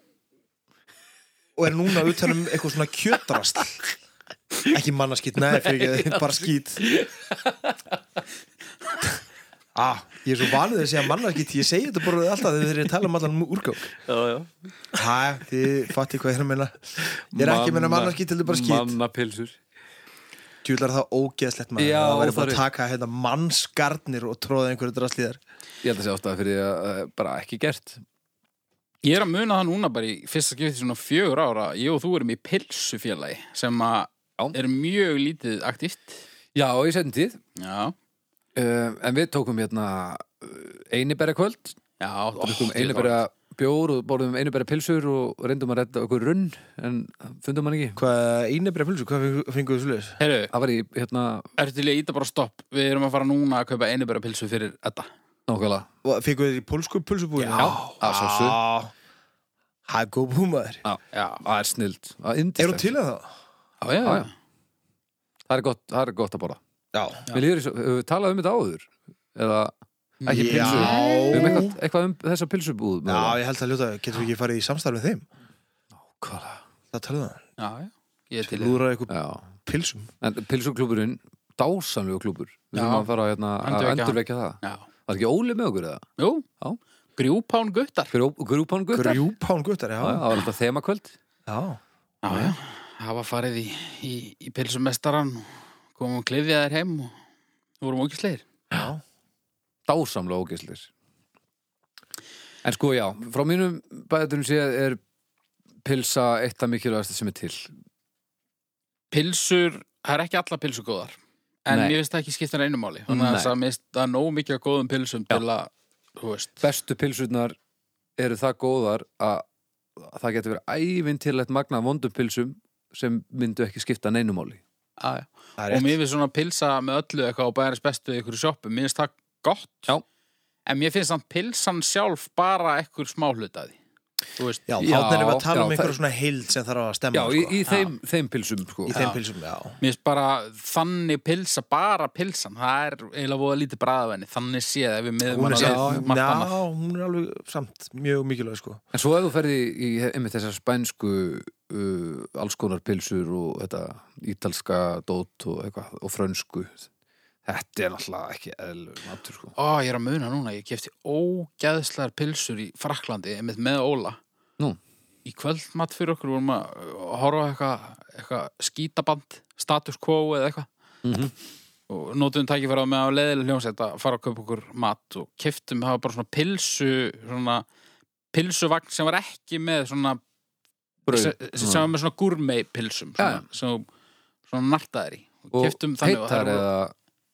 S3: og er núna utanum eitthvað svona kjötarast. Ekki mannaskýtt, nei, fyrir ekki, bara skýtt. Ah, ég er svo vanið að segja mannaskýtt, ég segi þetta bara alltaf þegar þeir eru að tala um allan úrgang.
S1: Já, já.
S3: Hæ, þið fatti hvað ég er að meina. Ég er ekki að meina mannaskýtt, heldur bara skýtt.
S2: Manna pilsur.
S3: Djúlar það ógeðslegt maður
S2: Já,
S3: Það væri
S2: það
S3: bara
S2: er-
S3: að taka hérna mannskarnir og tróða einhverju draslíðar
S2: Ég held að segja ástæða fyrir því að uh, bara ekki gert.
S1: Ég er að muna það núna bara í fyrsta skipti svona fjögur ára ég og þú erum í pilsufélagi sem að
S2: Já.
S1: er mjög lítið aktíft
S2: Já, í setjum tíð.
S1: Já,
S2: Uh, en við tókum hérna einibæra kvöld,
S1: já
S2: tókum einibæra bjór og borðum einibæra pilsur og reyndum að redda okkur runn en fundum hann ekki.
S3: Hvað einabri pulsu, hvað fenguðu svo leiðis?
S1: Herru,
S2: Það var í hérna
S1: ertu til í að íta bara stopp Við erum að fara núna að kaupa einibæra pilsu fyrir þetta
S2: nákvæmlega
S3: Fenguðu þið í pólsku pulsubúinu?
S2: Já, að sjálfsögðu.
S3: Það er góð búmaður
S1: Já,
S2: Það er snild
S3: Er hún til að það?
S1: já, já,
S2: Já, já. Það er gott, það er gott að borða
S3: Já
S2: Mér líður eins og, hefur við talað um þetta áður? Eða, ekki
S3: Já.
S2: pilsu Við hefum eitthvað, eitthvað um þessa pilsubúð
S3: Já, ég held að ljóta, getur við ekki farið í samstarf með þeim?
S2: Nákvæmlega.
S3: Það talaðu það
S1: já, já. Ég er til í það
S3: Lúðra eitthvað
S2: Já,
S3: pilsum
S2: en pilsuklúburinn Dásamlegu klúbur
S1: Já.
S2: Við þurfum að fara hérna, að
S1: Endurvekja hann.
S2: endurvekja það
S1: Já,
S2: Var ekki Óli með okkur eða?
S1: jú,
S2: Já.
S1: grjúpán guttar
S2: Grú- Grúpan guttar?
S3: Grjúpán guttar,
S2: Já,
S3: já
S2: það var alltaf þemakvöld
S3: Já
S1: Já, já, það var farið í, í, í pilsumestaran og komum og klifjaði þær heim og vorum ógisleir
S3: Já
S2: Dásamlega ógeislir En sko já, frá mínum bæðurum séð er pilsa eitt af mikilvægasta sem er til
S1: pilsur, það er ekki alla pilsur góðar en
S2: Nei.
S1: mér finnst það ekki skipta neinu máli þannig
S2: Nei.
S1: að það mér finnst það nóg mikið af góðum pilsum til að, þú veist
S2: bestu pilsurnar eru það góðar að að það getur verið ævintilegt magna af vondum pilsum sem myndu ekki skipta neinumáli.
S1: að,
S3: Það
S1: og
S3: er rétt
S1: mér finnst svona pilsa með öllu eitthvað og bæðins bestu í ykkur sjoppu, mér finnst það gott
S2: Já.
S1: en mér finnst þann pilsan sjálf bara ekkur smá hluta af því þú veist,
S3: Já,
S2: Já,
S3: þannig er við að tala um
S2: já,
S3: einhverju
S2: það-
S3: svona heild sem þarf að stemma
S2: Já, í,
S3: sko.
S2: í þeim, þeim pilsum, sko.
S3: Í þeim pilsum, já
S1: mér finnst bara þannig pilsa, bara pilsan það er eiginlega voða lítið bragð af henni þannig séð ef við miðum
S3: hún er,
S1: hana við
S3: samt,
S1: margt
S3: já,
S1: annað.
S3: hún er alveg samt mjög mikilvæg sko.
S2: En svo ef þú ferði í, í einmitt þessar spænsku uh, alls konar pilsur og þetta ítalska dót og eitthvað og frönsku þetta er náttúrulega ekki eðlur matur, sko.
S1: Ó, ég er að muna núna, ég kefti ógæðslar pilsur í Fraklandi með, með Óla.
S2: Nú.
S1: Í kvöldmatt fyrir okkur vorum að uh, horfa á eitthvað eitthva skítaband, status quo eða eitthvað.
S2: Mhm.
S1: Og og notum tækifæra með að leðilega hljómsætt að fara að kaupa okkur mat og keftum, það var bara svona pilsu svona pilsuvagn sem var ekki með svona
S2: Brauð.
S1: sem sem var með svona gourmet pilsum
S2: Já,
S1: svona, sem, svona nartaðir í
S2: Og
S1: keyptum þannig og
S2: heitar
S1: þær voru-
S2: eða...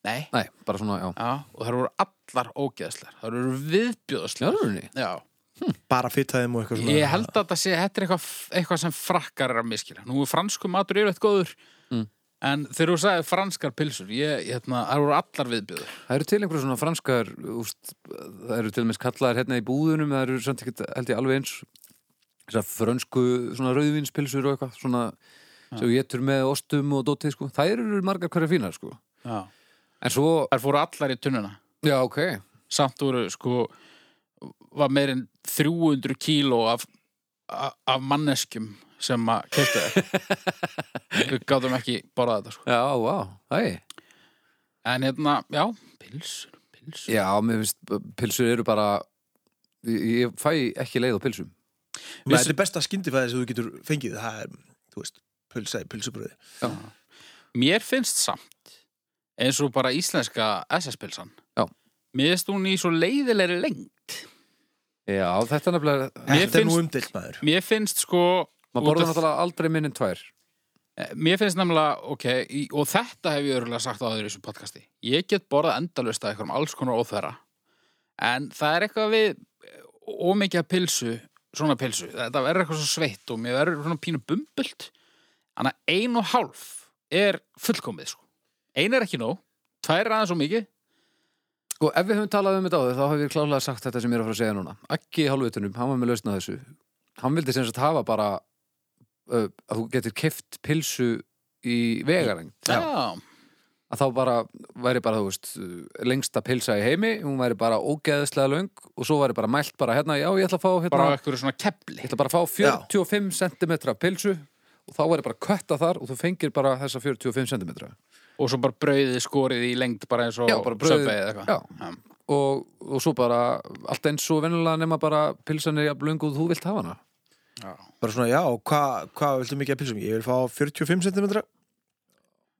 S1: nei,
S2: Nei, bara svona, já.
S1: já, og það voru allar ógeðslar það voru
S2: Já,
S1: viðbjóðslar
S2: það er henni.
S1: já,
S3: bara fyrtaðum og eitthvað svona
S1: ég held að það sé þetta er eitthvað, eitthvað sem frakkar er að miskila nú er fransku matur yfirleitt góður
S2: Mm.
S1: en þegar þú sagði franskar pilsur ég, ég, hérna, það voru allar viðbjóður
S2: Það eru til einhverja svona franskar, úst, það eru til og meins kallaðar hérna í búðunum, það eru samt ekkert held ég alveg eins þessar frönsku svona rauðvinspilsur og eitthvað svona sem ég getur með ostum og dótið sko. Það eru margar hverja fínar sko.
S1: já.
S2: En svo,
S1: þar fóru allar í tunnuna
S2: já ok,
S1: samt voru sko var meir en 300 kíló af, a- af manneskjum sem að keftu þær við gátum ekki borðað þetta sko.
S2: já, vá, hei.
S1: en hérna, já, pilsur pilsur,
S2: Já, mér finnst pilsur eru bara, ég, ég fæ ekki leið á pilsum.
S3: Nei, þetta er besta skyndifæði sem þú getur fengið það er, þú veist, pulsa í pulsubröði
S2: Já,
S1: mér finnst samt eins og bara íslenska SS-pilsan
S2: Já.
S1: mér finnst hún í svo leiðilegri lengt
S2: já þetta er nefnilega,
S1: Mér
S3: Þetta er nú
S1: finnst-
S3: umdilt maður
S1: mér finnst sko
S2: maður
S1: út
S2: borður
S1: af-
S2: náttúrulega aldrei minn en tvær.
S1: Eh, Mér finnst nefnilega, ok, í, og þetta hef ég örgulega sagt áður í þessu podcasti. Ég get borðað endalust að einhverjum alls konar óþverra, en það er eitthvað við eh, ómikið af pilsu, svona pilsu, þetta verður eitthvað svo sveitt og mér verður svona pínu bumbult. Þannig að ein og hálf er fullkomið, sko. Ein er ekki nóg, tvær er aðeins og mikið,
S2: Sko, ef við höfum talað um þetta áður, þá hef ég klálega sagt þetta sem ég er að fara að segja núna. Akki í hálfvitunum, hann var með lausna þessu. Hann vildi sem sagt hafa bara uh, að þú getur keft pilsu í vegarengt.
S1: já,
S2: Að þá bara væri bara, þú veist, uh, lengsta pilsa í heimi, hún væri bara ógeðislega löng og svo væri bara mælt bara hérna, já, ég ætla að fá hérna,
S1: bara á einhverju svona
S2: ég
S1: kepli.
S2: ætla bara að fá 45 cm pilsu og þá væri bara kötta þar og þú fengir bara þessa 45 cm.
S1: Og svo bara brauðið skorið í lengd bara eins og
S2: Já, bara brauðið-
S1: Subway eða eitthvað.
S2: Já,
S1: Já.
S2: og, og svo bara allt eins og venjulega nema bara pilsan er jafn löng og þú vilt hafa hana.
S3: Bara svona, já, og hvað hva viltu mikið að pilsum? Ég vil fá 45 cm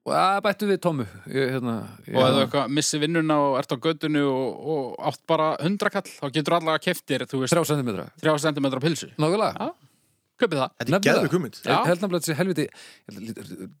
S2: og það bættu við Tomu ég, hérna, ég,
S1: og ef þú eitthvað missir vinnuna og ert á göttinu og, og átt bara 100 kall þá getur allavega keftir, þú veist,
S2: þrjá sentimetra
S1: 3 cm pilsu
S2: nákvæmlega,
S1: köpið það,
S3: Þetta
S2: Nefnilega.
S3: er geðvig hugmynd
S1: Já.
S2: ég held náttúrulega þessi helviti ég held- lítur-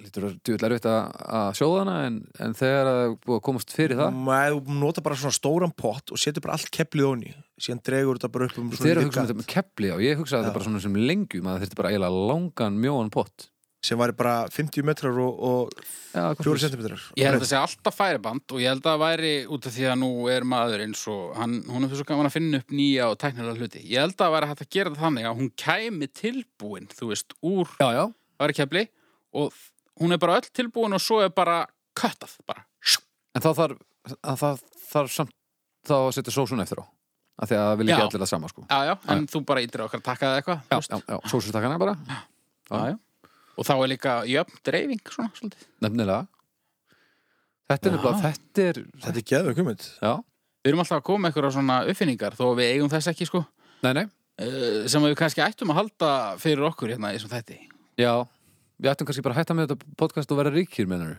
S2: lítur að djúvill erfitt að að sjóða hana en, en þegar það er búið að komast fyrir
S1: Mm,
S2: það
S3: Nei, þú nota bara svona stóran pott og setur bara allt keplið onni síðan dregur þetta bara upp um
S2: þeir
S3: svona
S2: eru að
S3: lítið
S2: hugsa um þetta
S3: gat
S2: með kepli og ég hugsa að þetta er bara svona sem lengjum að þetta er bara eiginlega langan mjóan pott
S3: sem væri bara 50 metrar og,
S2: Já,
S3: og
S2: hvað
S3: 4
S2: fyrir-
S3: cm
S1: ég held að segja alltaf færiband og ég held að það væri út af því að nú er maður eins og hann, hún er fyrir svo gaman að finna upp nýja og tæknilega hluti, ég held að það væri hægt að gera það þannig að hún kæmi tilbúin þú veist, úr
S2: já, já,
S1: væri kefli og hún er bara öll tilbúin og svo er bara köttað bara, Sjú.
S2: en þá þarf að það þarf samt þá að setja sósun eftir á af því að það vil ekki
S1: Já.
S2: allir það sama sko
S1: já já, en þú bara ítir okkar takka það eitthvað
S2: já,
S1: þú veist.
S2: já, já, sósustakkana bara
S1: Já, já. og þá er líka jöfn dreifing svona, svolítið
S2: nefnilega þetta er
S1: Já.
S2: nefnilega, þetta er
S3: Þetta er geðvig hugmynd
S2: já,
S1: Við erum alltaf að koma með einhverja svona uppfinningar þó að við eigum þess ekki sko
S2: nei, nei
S1: eh, sem við kannski ættum að halda fyrir okkur hérna í þessum þætti
S2: Já, við ættum kannski bara að hætta með þetta podcast og vera ríkir, menur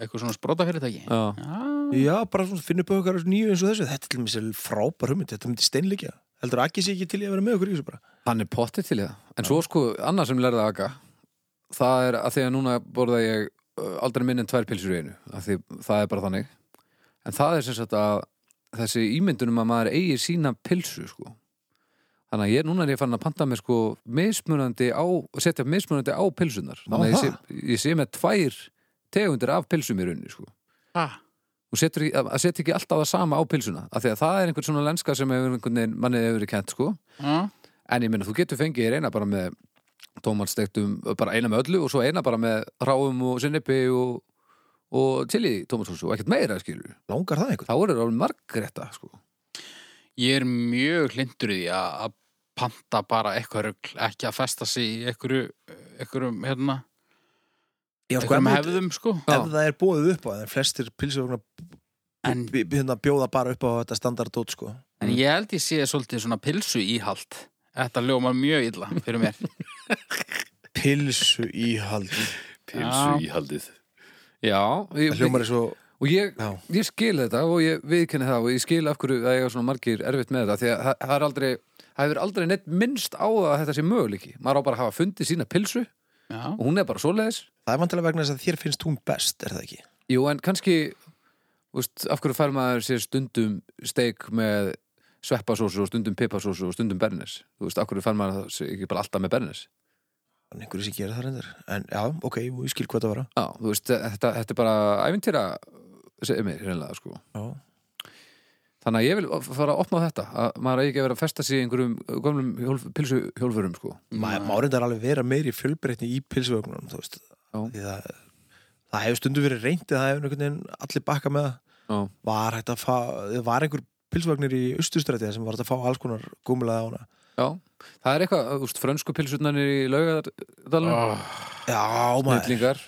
S1: eitthvað svona Ah. sprota fyrirtæki Já,
S2: Já,
S3: Já, bara svona finna upp á okkar nýju eins og þessu Þetta er til mér sér frábær hugmynd, þetta myndi steinleikja Heldur að ekki sé ekki til í að vera með okkur í þessu bara
S2: hann er pottið til í það En svo sko, annað sem ég lærði að aga Það er að því að núna borða ég uh, aldrei minn en tvær pilsur í einu af því, Það er bara þannig En það er sem sagt að þessi ímyndunum að maður eigi sína pilsu sko. Þannig að ég, núna er ég fann að panta mér sko mismunandi á, setja mismunandi á pilsunar Þannig að
S3: það?
S2: ég sé, ég sé með tvær tegundir af pilsum í rauninni sko.
S1: ah.
S2: Þú setur, ekki- að að setja ekki alltaf það sama á pilsuna af því að það er einhvern svona lenska sem hefur einhvern veginn manni hefur verið kent sko
S1: Já.
S2: en ég meina þú getur fengið þér eina bara með tómatsteiktum, bara eina með öllu og svo eina bara með ráum og sinnipi og, og til í tómatsósu og ekkert meira skilur,
S3: Langar það einhvern?
S2: þá eru alveg margrétta sko.
S1: Ég er mjög hlindur í því að að panta bara eitthvað rugl ekki að festa sig í einhverju einhverjum, hérna,
S3: Já, sko,
S1: einhverjum
S3: ef-
S1: hefðum sko
S2: Já.
S3: ef það er bóðið upp á það en flestir pilsugna
S1: en,
S3: hérna bjóða bara upp á þetta standardót sko.
S1: en ég held ég sé svolítið svona pilsu íhald Þetta ljóma mjög illa fyrir mér
S3: pilsu íhald
S1: Pilsu
S2: íhaldið Já,
S3: Það
S2: ég,
S3: hljómar er svo
S2: og ég,
S3: Já.
S2: ég skil þetta og ég viðkenni það og ég skil af hverju að ég er svona margir erfitt með þetta því að það, það er aldrei, það hefur aldrei neitt minnst á það að þetta sé möguleiki maður á bara að hafa fundið sína pilsu
S1: Já.
S2: og hún er bara svoleiðis
S3: Það er vantilega vegna þess að þér finnst hún best, er það ekki?
S2: Jú, en kannski, þú veist, af hverju fær maður sér stundum steik með sveppasósu og stundum pipasósu og stundum bernis þú veist, af hverju fær maður það sér ekki bara alltaf með bernis
S3: En einhverju sem gera það reyndar En já, ok, jú, ég skil hvað það var
S2: Já, þú veist, þetta, þetta er bara ævintýra sem er hreinlega, sko
S3: Já,
S2: Þannig að ég vil fara að opna á þetta að maður eigi ekki að vera að festa sig í einhverjum gömlum hjólf, pilsuhjólfurum sko.
S3: maður má reyndar alveg vera meiri fjölbreytni í pilsvögnunum þú veist
S2: Já.
S3: Því það, það hefur stundu verið reyndi það hefur einhvern veginn allir bakka með það.
S2: Já,
S3: var hægt að fá, það var einhver pilsvögnir í austurstræti sem var hægt að fá alls konar gúmulaði á hana
S2: já. Það er eitthvað, þú veist, frönsku pilsutnarnir í laugardalunum,
S1: Oh,
S3: já Ah, maður,
S2: nýtlingar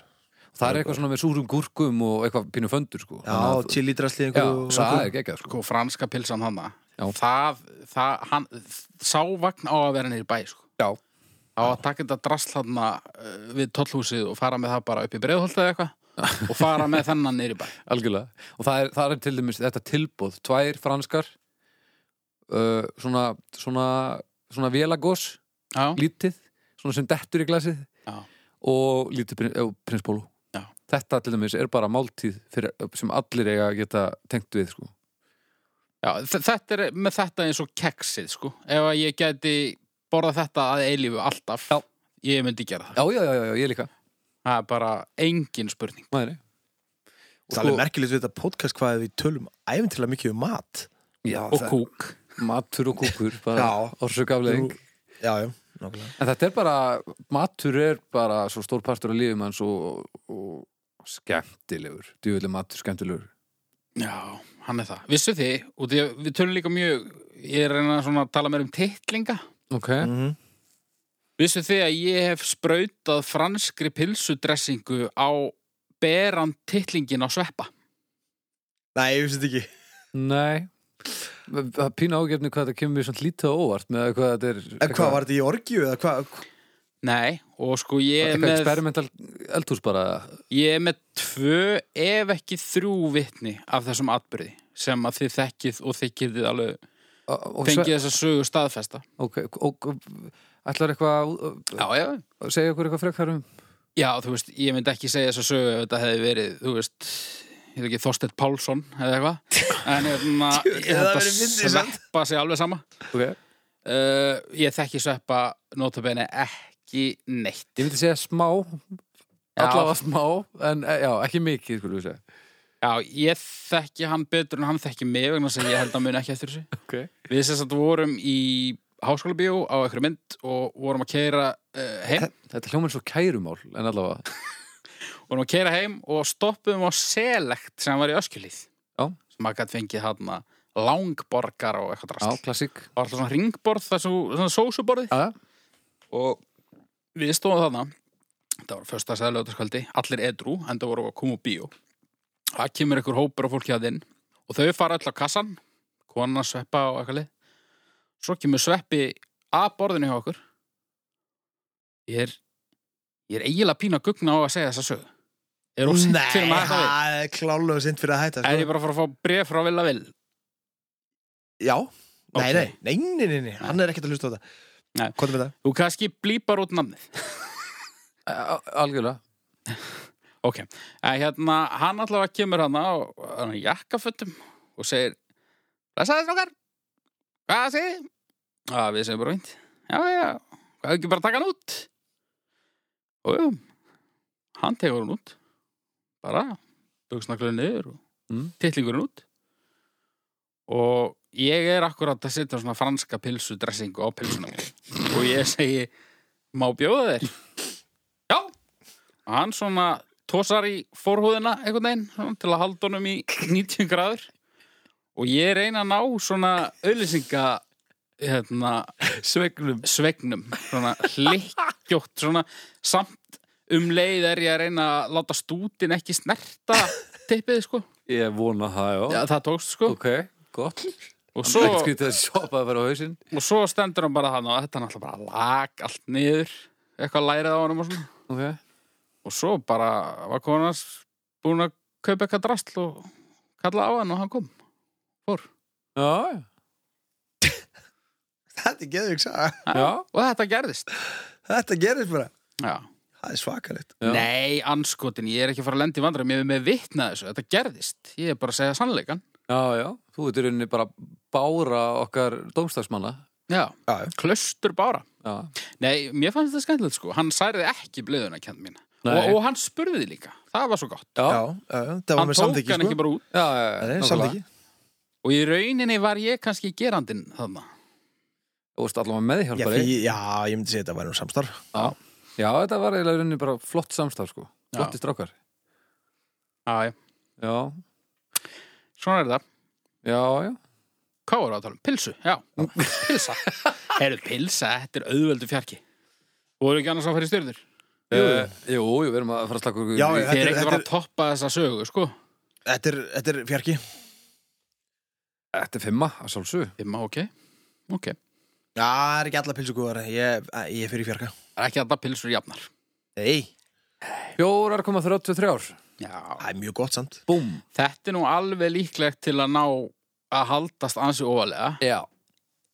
S2: Það er eitthvað svona með súrum gúrkum og eitthvað pínu föndur sko.
S3: já, chilidrasli
S2: já,
S3: einhverju
S2: það er geggjað sko.
S1: sko, franska pilsan hana.
S2: Já.
S1: Það, það, hann, sá vagn á að vera niður í bæ, sko.
S2: Já,
S1: á að taka þetta drasl hann við tollhúsið og fara með það bara upp í breiðholta eða eitthvað og fara með þennan niður í bæ
S2: algjörlega Og það er, það er til dæmis þetta tilbúð Tvær franskar uh, svona, svona, svona vélagos,
S1: já,
S2: lítið Svona sem dettur í glasið
S1: já,
S2: og lítið prin, eh, prins Pólo
S1: Já.
S2: þetta til dæmis er bara máltíð fyrir, sem allir eiga að geta tengt við sko.
S1: já þ- þetta er með þetta eins og keksið sko ef að ég gæti borða þetta að eilífu alltaf
S2: Já.
S1: ég myndi gera það
S2: já, já, já, já, ég líka
S1: það er bara engin spurning
S2: Maður, nei. Og
S3: það er alveg merkilegt við þetta podcast hvað við tölum æfintilega mikið um mat
S2: já,
S1: og
S2: það-
S1: kúk
S2: matur og kúkur
S3: Já.
S2: orsugafleðing
S3: Nú- já, já, nokkulega
S2: en þetta er bara, matur er bara svo stór partur af lífum hans og, og skemmtilegur djúvileg matur skemmtilegur
S1: já, hann er það vissu þið, og því, að við tölum líka mjög ég er að reyna svona að tala mér um titlinga
S2: ok,
S3: Mhm.
S1: vissu þið að ég hef sprautað franskri pilsudressingu á beran titlingin á sveppa
S3: nei, ég finnst ekki
S2: nei það pína ágefni hvað þetta kemur mér svona lítið á óvart með hvað þetta er
S3: en Eh, hvað var þetta í orgju eða hvað
S1: Nei, og sko ég er
S2: eitthvað
S1: með
S2: experimental eldhús bara
S1: Ég er með tvö, ef ekki þrjú vitni af þessum atbyrði sem að þið þekkið og þið getið alveg
S2: og og-
S1: fengið þessa sögu staðfesta.
S2: Ok, og og- ætlar eitthvað að-
S1: Já, já.
S2: að segja okkur eitthvað frekar um
S1: Já, þú veist, ég myndi ekki segja þessa sögu ef þetta hefði verið, þú veist, ég veit ekki, Þorstedt Pálsson eða eitthvað. En hérna,
S3: Djöfull, það
S1: þetta
S3: væri fyndið samt.
S1: sveppa sig alveg sama.
S2: okay.
S1: Uh, ég þekki sveppa notabene ekki neitt.
S2: Ég myndi segja smá
S1: Já.
S2: allavega smá, en e, já, ekki mikið skulum við segja
S1: Já, ég þekki hann betur en hann þekki mig vegna sem ég held að muni ekki eftir þessu.
S2: okay.
S1: Við sem sagt vorum í háskóla bíó á einhverju mynd og vorum að keira uh, heim
S2: Þetta hljómar svo kærumál, en allavega
S1: vorum að keira heim og stoppuðum á Select sem var í Öskjulíð
S2: Já.
S1: sem maður gætt fengið hann langborgar og eitthvað
S2: Já,
S1: drast
S2: klassík
S1: Það var alltaf svona ringborð, það er svo- svona sósuborði
S2: Já,
S1: og við stóðum þarna þetta var fyrsta sæðlöðarskvöldi, allir edru en það voru að koma úr bíó það kemur einhver hópur af fólki að inn og þau fara öll á kassan konan sveppa og eitthvað lið svo kemur sveppi að borðinu hjá okkur ég er ég er eiginlega pín að gugna á að segja þessa sög er hún
S3: nei,
S1: sent fyrir maður það við
S3: það er klálega sint fyrir að hætta
S1: er
S3: sko.
S1: ég bara að fara að fá bref frá vilja vil
S3: já,
S1: Ok.
S3: nei, nei, nei, nei, nei, nei hann er ekkert að hlusta á
S1: Nei.
S3: þetta hvað er með það?
S1: þú kannski blípar út namnið
S2: a- algjörlega
S1: Ok, en hérna, hann allavega kemur hana og hann er í jakkafötum og segir Blessaði strókar, hvað segir þið? Að við segjum bara vint Já, já, hvað ekki bara taka hann út? Og jú, hann tegur hann út bara, buksnakluðu niður og
S2: Mm.
S1: tittlingurinn út og ég er akkurat að setja svona franska pilsu dressingu á pilsuna og ég segi má bjóða þér? Já og hann svona tósar í forhúðina einhvern veginn svona, til að halda honum í 90 gráður og ég reyna að ná svona auðlýsinga hérna,
S2: Svegnum
S1: svegnum svona hlikkjótt svona samt um leið er ég að reyna að láta stútin ekki snerta tippið sko
S2: Ég vona það, já,
S1: Já, það tókst sko
S2: Ok, gott
S1: og
S2: Svo...
S1: svo,
S2: Ekkert skrítið að sjópa að vera á hausinn
S1: og svo stendur hann bara hann og þetta er náttúrulega bara lag allt niður eitthvað lærið á honum og svona
S2: Ok,
S1: og svo bara var konan hans búin að kaupa eitthvað drastl og kalla á hann og hann kom fór
S2: já,
S3: Þetta er geðvík saga.
S2: já,
S1: og þetta gerðist
S3: Þetta gerist bara.
S1: já.
S3: Það er svakalegt.
S2: já.
S1: Nei, anskotin, ég er ekki að fara að lenda í vandræðum ég er með vitna þessu, þetta gerðist ég er bara að segja sannleikan
S2: já, já. Þú ert í rauninni bara bára okkar dómstagsmanna.
S1: já.
S3: Já, já.
S1: Klaustur bara
S2: Já,
S1: Nei, mér fannst þetta skemmtilegt sko hann særiði ekki blöðuna kjönd mína
S2: Nei.
S1: og, og hann spurði því líka, það var svo gott
S2: já,
S3: já, já. Það var
S1: hann tók
S3: með samþykki,
S1: hann ekki
S3: sko.
S1: bara út
S2: já, já, já,
S3: Nei,
S2: nákvæmlega.
S3: samþykki.
S1: og í rauninni var ég kannski gerandinn þarna
S2: Þú veist allavega með
S3: Já,
S2: hjálpari.
S3: því- já, ég myndi segja þetta var nú samstarf.
S2: Já, þetta var eiginlega í rauninni bara flott samstarf sko
S1: Já.
S2: Flotti strákar
S1: já, já.
S2: Já,
S1: svona er það,
S2: já, já
S1: hvað voru að tala um? Pilsu, já, pilsa Heyrðu, pilsa, þetta er auðveldu fjarki voru ekki annars að fara í styrður
S2: Jú, Eh, jú, jú við erum að fara að slaka okkur
S3: Já,
S2: í-
S1: þeir
S3: já. er-
S1: eru ekki
S3: þetta
S1: að fara
S3: er-
S1: að toppa þessa sögu sko,
S3: Þetta er, þetta er fjarki.
S2: Þetta er fimma, að sjálfsög
S1: Fimma, ok ok,
S3: Já, það er ekki alla pilsugúðar. Ég, ég fyrir fjarka.
S1: það er ekki alltaf pilsur jafnar
S3: Nei,
S2: 4,33 ár
S1: já,
S3: það er mjög gott samt.
S2: Búm
S1: þetta er nú alveg líklegt til að ná að haldast ansi óvalega
S2: Já,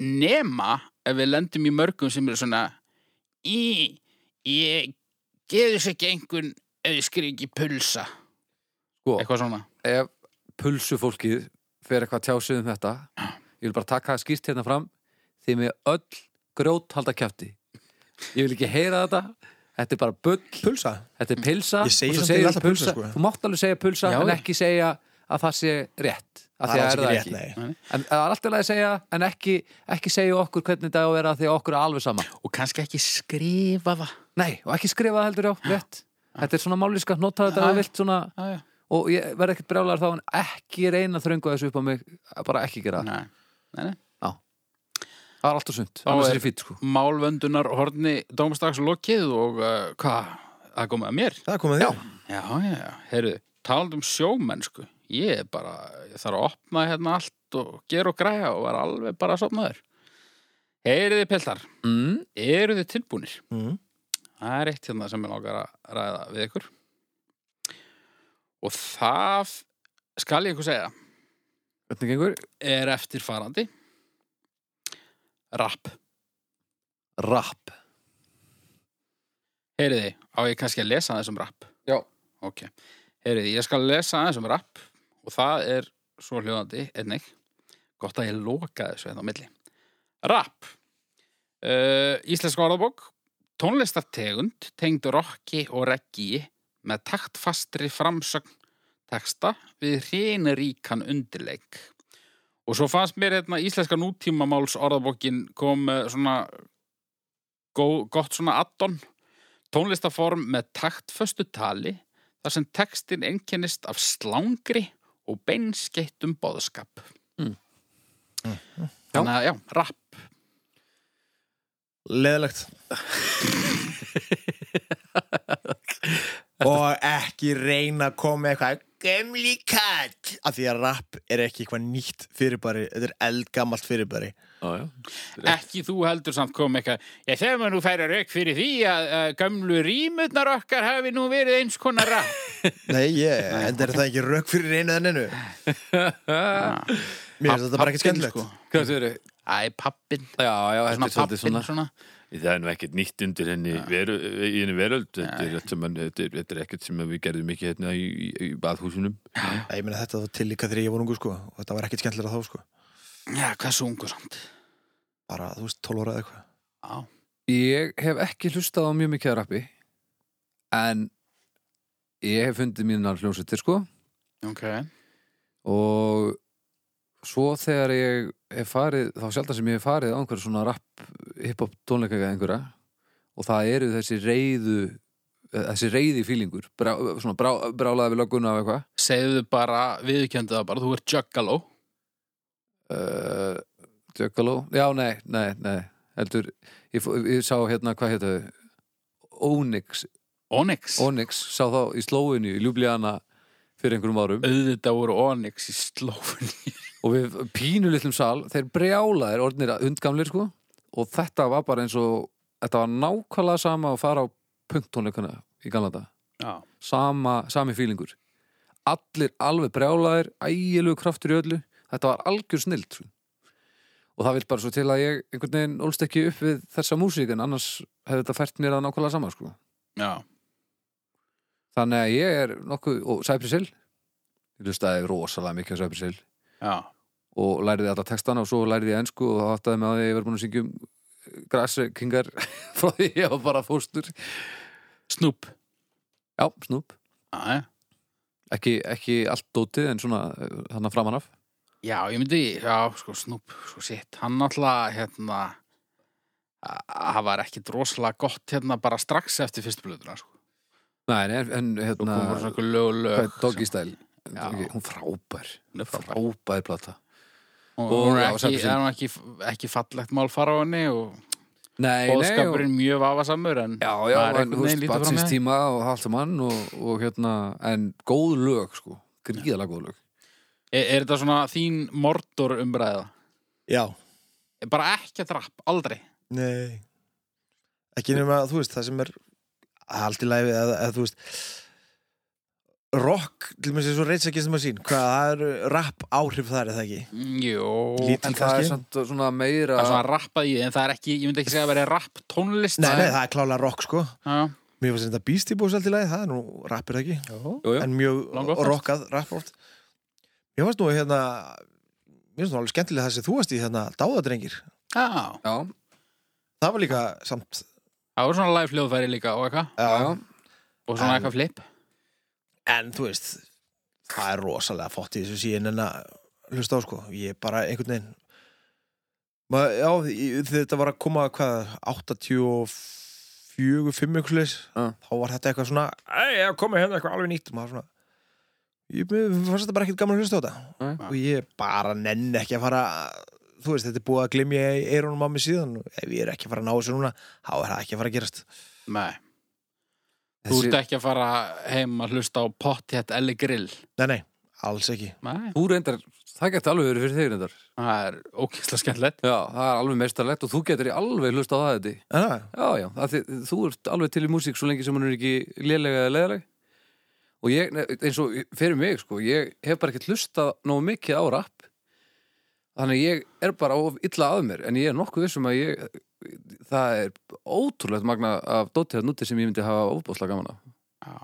S1: nema ef við lendum í mörgum sem eru svona í, ég geður sér ekki einhvern ef ég skrif ekki pulsa
S2: Sko.
S1: eitthvað svona
S2: ef pulsu fólkið fer eitthvað tjásið um þetta Ég vil bara taka það skýrt hérna fram Því með öll grjót halda kjafti Ég vil ekki heyra þetta Þetta er bara bull,
S3: Pulsa.
S2: þetta er pilsa
S3: Ég segi
S2: og svo
S3: samt
S2: segirðu
S3: alltaf pulsa, sko.
S2: Þú mátt alveg segja pulsa
S1: Já,
S2: en
S1: já.
S2: ekki segja að það sé rétt að
S3: Það er alls ekki rétt, nei.
S2: En það er alltaf leið að segja, en ekki, ekki segja okkur hvernig þetta á að vera því að okkur er alveg sama.
S1: og kannski ekki skrifa það
S2: Nei, og ekki skrifa það heldur já, rétt. Þetta er svona máliska, nota þetta að
S1: Já.
S2: vilt svona,
S1: ah,
S2: og ég verð ekkert brjálar þá, en ekki reyna að þröngu þessu upp á mig, bara ekki gera það.
S1: nei. Nei, nei.
S2: Það er alltaf sunt,
S1: Þá
S2: annars
S1: er-
S2: er ég fýtt, sko.
S1: málvöndunar horni dómstags lokið og uh, hvað, það komið að mér
S3: Það er komið þér.
S1: já, já, já, heyrðu, talandi um sjómennsku ég er bara, ég þarf að opna hérna allt og gera og græja og var alveg bara að sopnaður heyriði peltar,
S2: Mm,
S1: eru þið tilbúnir?
S3: Mm.
S1: Það er eitt hérna sem ég langar að ræða við ykkur. Og það, skal ég ykkur segja,
S2: hvernig gengur?
S1: er eftirfarandi. Rapp.
S2: Rapp.
S1: Heyriði, á ég kannski að lesa aðeins um rapp?
S2: Já.
S1: Ok. Heyriði, ég skal lesa aðeins um rapp og það er svo hljóðandi, einnig. Gott að ég loka þessu hérna á milli. Rapp. Uh, Íslensk orðabók. Tónlistartegund tengd rocki og reggi með taktfastri framsögn texta við hreinaríkan undirleik. Og svo fannst mér hérna íslenska nútímamáls orðabókin kom með svona gó, gott svona addon tónlistaform með taktföstu tali þar sem textin einkennist af slangri og beinskeittum boðskap.
S2: Mm.
S3: Mhm.
S1: Þannig að, já, rapp.
S3: Leðilegt. og ekki reyna að koma með eitthvað Gömli katt Af því að rap er ekki eitthvað nýtt fyrirbæri Þetta er eldgamalt fyrirbæri
S2: Já, já. Rétt.
S1: Ekki þú heldur samt kom eitthvað. Ég þegar maður nú færa rauk fyrir því að, að gömlu rímurnar okkar hafi nú verið eins konar rapp.
S3: Nei, ég, en er það ekki rauk fyrir reynu þenninu
S1: Mér
S3: Mér finnst þetta bara ekki skemmtilegt
S2: Eh, Hvað þau eru?
S1: sko. Æ, pappin.
S2: Já, já,
S1: Svona
S2: þetta er
S1: pappin
S2: svolítið
S1: svona.
S2: svona. Það er nú ekkert nýtt undir henni veru, í henni veröld. Þetta er, þetta, man, þetta, er, þetta er ekkert sem við gerðum ekki hérna í, í, í baðhúsunum.
S3: Nei, Ég meina þetta var til líka þegar ég var ungu sko Og þetta var ekkit skemmtilega þá sko
S1: Já, hvað svo ungu samt.
S3: Bara, þú veist, 12 ára eða eitthvað
S1: Já.
S2: Ég hef ekki hlustað á mjög mikið af rappi en ég hef fundið mínar hljómsveitir sko
S1: Ok.
S2: og svo þegar ég hef farið, þá sjaldan sem ég hef farið á einhverja svona rapp, hiphop tónleika eða einhverja og það eru þessi reyðu þessi reyði fílingur brá, svona brá, brálaði við lögguna af eitthvað
S1: Segðu bara, viðkjöndu það bara, þú ert juggalo.
S2: uh, Jökkaló já, nei, nei, nei heldur, ég, fó- ég sá hérna, hvað hétta Onyx
S1: Onyx.
S2: Onyx sá þá í slóinu í Ljubljana fyrir einhverjum árum
S1: Auðvitað voru Onyx í slófunni.
S2: og við pínu litlum sal þeir brjálaðir orðnir undgamlir sko og þetta var bara eins og þetta var nákvæmlega sama að fara á punktónleikana í Galanda
S1: Já.
S2: sama, sami fílingur allir alveg brjálaðir, ægilegu kraftur í öllu þetta var algjör snild og það vil bara svo til að ég einhvern veginn ólst ekki upp við þessa músík en annars hefði þetta fært mér að nákvæmlega saman sko.
S1: já,
S2: þannig að ég er nokkuð, og Cypress Hill ég lustaði rosalega mikið á Cypress Hill
S1: já,
S2: og læriði alla textana og svo læriði ég ensku og þá áttaði með að ég verið búin að syngjum graskingar frá því ég var bara fóstur
S1: snúp
S2: já, snúp,
S1: já, já.
S2: ekki, ekki allt dótið en svona þannig framan af
S1: já, ég myndi, já, sko snúp sko sitt, hann náttúrulega hérna, a- það var ekki droslega gott hérna bara strax eftir fyrstu blöðuna, sko
S2: Nei, nei, en, en
S1: og
S2: hérna
S1: komur bara svona einhver lög,
S2: hvað er
S1: lög
S2: Doggy Style
S1: Já.
S2: Doggy- hún frábær,
S1: Hún er frábær.
S2: frábær plata
S1: og,
S2: og-
S1: og
S2: já,
S1: ekki,
S2: Cypress Hill.
S1: er hann ekki, ekki fallegt mál fara á henni og
S2: nei, og,
S1: bóðskapurinn mjög vafasamur en
S2: já,
S1: maður
S2: já, en
S1: einhvern
S2: þú
S1: veginn
S2: veist,
S1: lítur fram
S2: batsins
S1: hjá.
S2: tíma og halda mann og, og hérna, en góð lög sko, gríðalega góð lög
S1: er, er þetta svona þín mordur umbræða?
S3: Já,
S1: Bara ekki að drapp, aldrei
S3: nei Ekki nema, þú veist, það sem er allt í læfi, eða, eða þú veist rock, til mér sem svo reitsakist um að sín, hvað það eru rap áhrif þar eða ekki
S1: Mm, Jó,
S3: Lít-
S1: en
S2: en það
S3: kannski.
S2: er samt svona meira
S1: það er svona rappað í því, en það er ekki, ég myndi ekki segja að vera rapp tónlist
S3: Nei, nei, það er klálega rock, sko
S1: Já,
S3: Mér fannst þetta Beastie Boys allt í lagi, það er nú rappir ekki
S2: Jú, jú.
S3: en mjög
S1: Langoftast.
S3: rockað rapp oft Mér fannst nú hérna mér fannst nú alveg skemmtilega það sem þú varst í hérna dáðadrengir
S1: já,
S2: já,
S3: Það var líka samt
S1: það var svona live hljóðfæri líka og eitthvað
S2: já, já
S1: og svona
S3: En-
S1: eitthvað flip
S3: En þú veist, það er rosalega fótt í þessu síðan en að hlusta á sko. Ég er bara einhvern veginn Ma, Já, ég- þetta var að koma hvað, 84, 5 ykkurleis
S2: Já.
S3: þá var þetta eitthvað svona Æ, ég komið hérna eitthvað alveg nýtt maður svona Ég mér fannst þetta bara ekkert gaman að hlusta á þetta
S2: Nei.
S3: og ég bara nenni ekki að fara þú veist, þetta er búið að glimja í eyrunum á mig síðan ef ég er ekki að fara að ná þessu núna þá er það ekki að fara að gerast
S1: Nei, þú
S2: Þessi-
S1: ert ekki að fara heim að hlusta á Potthett Ellie Grill
S3: Nei, nei, alls ekki
S1: Nei,
S2: Þú reyndar, það getur alveg verið fyrir þig reyndar
S1: það er ókýrslega skemmtilegt
S2: Já, það er alveg meistarlegt og þú getur í alveg hlust á það þetta
S3: En það,
S2: Já, já, af því, þú ert alveg til í músík svo lengi sem hún er ekki lélega eða leðaleg og ég, ne- eins og fyrir mig sko, ég hef bara ekkert hlustað nógu mikið á rap þannig að ég er bara of illa að mér en ég er nokkuð vissum að ég það er ótrúlegt magna af dóttiðar núti sem ég myndi hafa ofbásla gaman af
S1: Já.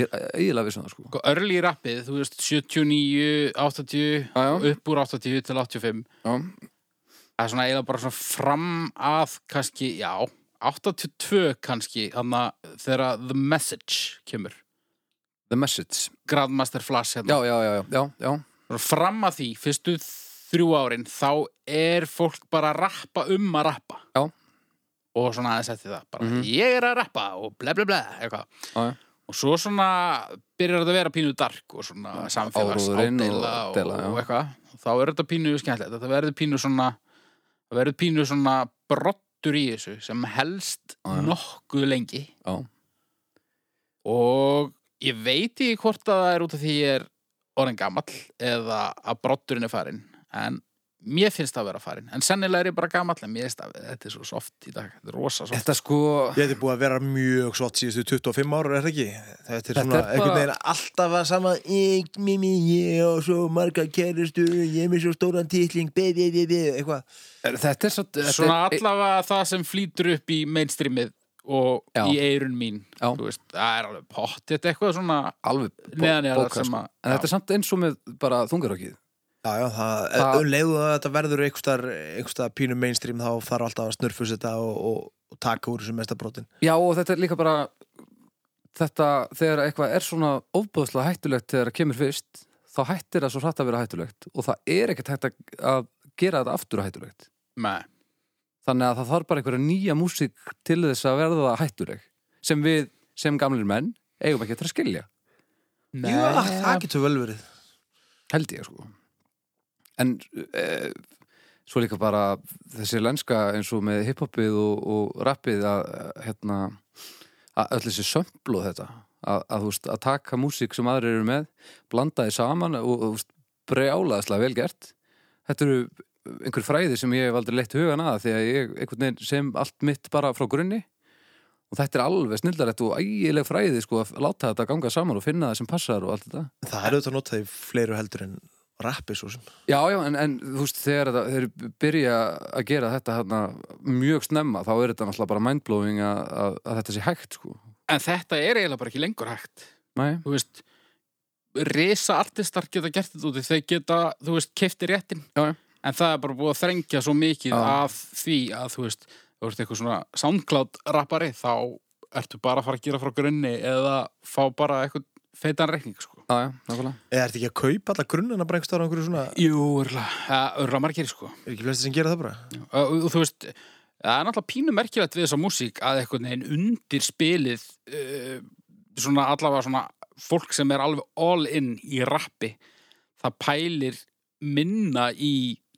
S2: Ég er eiginlega vissum það sko
S1: Sko, Early rappið, þú veist 79, 80
S2: Já, já.
S1: og upp úr 80 til 85
S2: Já,
S1: það er svona eiginlega bara svona fram að kannski, já, 82 kannski, þannig að þegar The Message kemur
S2: The Message
S1: Grandmaster Flash hérna,
S2: Já, já, já, já, já, já,
S1: Svona fram að því fyrstu þrjú árin, þá er fólk bara að rappa um að rappa
S2: Já.
S1: og svona aðeins eftir það, bara
S2: Mhm.
S1: ég er að rappa og ble ble ble, eitthvað
S2: já, já.
S1: og svo svona byrjar þetta að vera pínu dark og svona samfélags
S2: áróðurinn og
S1: ádeila og,
S2: deila, já.
S1: og eitthvað og þá er þetta pínu skemmtilegt þetta verður pínu svona það verður pínu svona brottur í þessu sem helst
S2: Já, já.
S1: nokkuð lengi
S2: Já.
S1: og ég veit ekki hvort að það er út af því ég er orðin gamall eða að brotturinn er farinn en mér finnst það að vera farinn en sennilega er ég bara gamall en mér finnst það þetta er svo soft í dag þetta er rosa soft
S2: Þetta sko
S3: Ég hefði búið að vera mjög svott síðustu 25 ára, er það ekki? Þetta er
S2: Þetta
S3: svona
S2: er bara-
S3: einhvern veginn alltaf að sama ég, mi, mi, ég og svo marga kærustu ég er með svo stóran titling, be, be, be, be eitthvað.
S2: Þetta er svo þetta
S1: svona
S2: er- e,
S1: allavega það sem flýtur upp í mainstreamið og
S2: Já.
S1: í eirun mín
S2: Já.
S1: þú veist, það er alveg pott þetta er eitthvað svona
S2: alveg bó-
S1: neðan ég
S2: bókað,
S1: sem
S2: sko.
S1: að
S2: En þetta er samt eins og með bara þungarokkið
S3: Já, já, það,
S2: Það-
S3: um leiðu að þetta verður einhverstaðar einhverstaðar pínu mainstream þá þarf alltaf að snurfus þetta og, og, og taka úr þessu mesta brotin.
S2: Já og þetta er líka bara þetta þegar eitthvað er svona ofbúðslega hættulegt þegar það kemur fyrst þá hættir það svo hratt að vera hættulegt og það er ekkert hægt að, að gera þetta aftur hættulegt
S1: Nei.
S2: þannig að það þarf bara einhverja nýja músík til þess að verða það hættuleg sem við, sem gamlir menn eigum ekki eftir að skilja,
S1: Nei.
S3: Jú, að, það getur vel verið.
S2: held ég sko en e, svo líka bara þessi lenska eins og með hiphopið og, og rappið að eh, hérna að öll þessi sömpl og þetta að, að, þú veist, að taka músík sem aðrir eru með blanda því saman og, og þú veist, brjálaðislega vel gert þetta eru einhver fræði sem ég hef aldrei leitt hugan að því að ég einhvern veginn sem allt mitt bara frá grunni og þetta er alveg snildarlegt og ægileg fræði sko að láta þetta ganga saman og finna það sem passar og allt þetta
S3: Það er auðvitað notað í fleiru heldur en rappi svo sem.
S2: Já, já, en, en þú veist, þegar þetta, þeir byrja að gera þetta hana, mjög snemma, þá er þetta náttúrulega bara mindblowing að, að, að þetta sé hægt, sko.
S1: En þetta er eiginlega bara ekki lengur hægt.
S2: Nei,
S1: Þú veist, risa artistar geta gert þetta úti. Þeir geta, þú veist, kefti réttin.
S2: Já, já.
S1: En það er bara búið að þrengja svo mikið
S2: Já.
S1: af því að, þú veist, þú veist eitthvað svona SoundCloud-rappari, þá ertu bara að fara að gera frá grunni eða fá bara eitthvað feitan reikning, sko.
S2: já, já, nákvæmlega.
S3: Eða ertu ekki að kaupa alla grunnina bara einhverstaðar á einhverju svona,
S1: Jú, örla margir, sko.
S3: er ekki flestir sem gera það bara?
S1: og, og þú veist það er náttúrulega pínu merkilegt við þessa músík að einhvern veginn undir spilið uh, svona allavega svona fólk sem er alveg all in í rappi það pælir minna í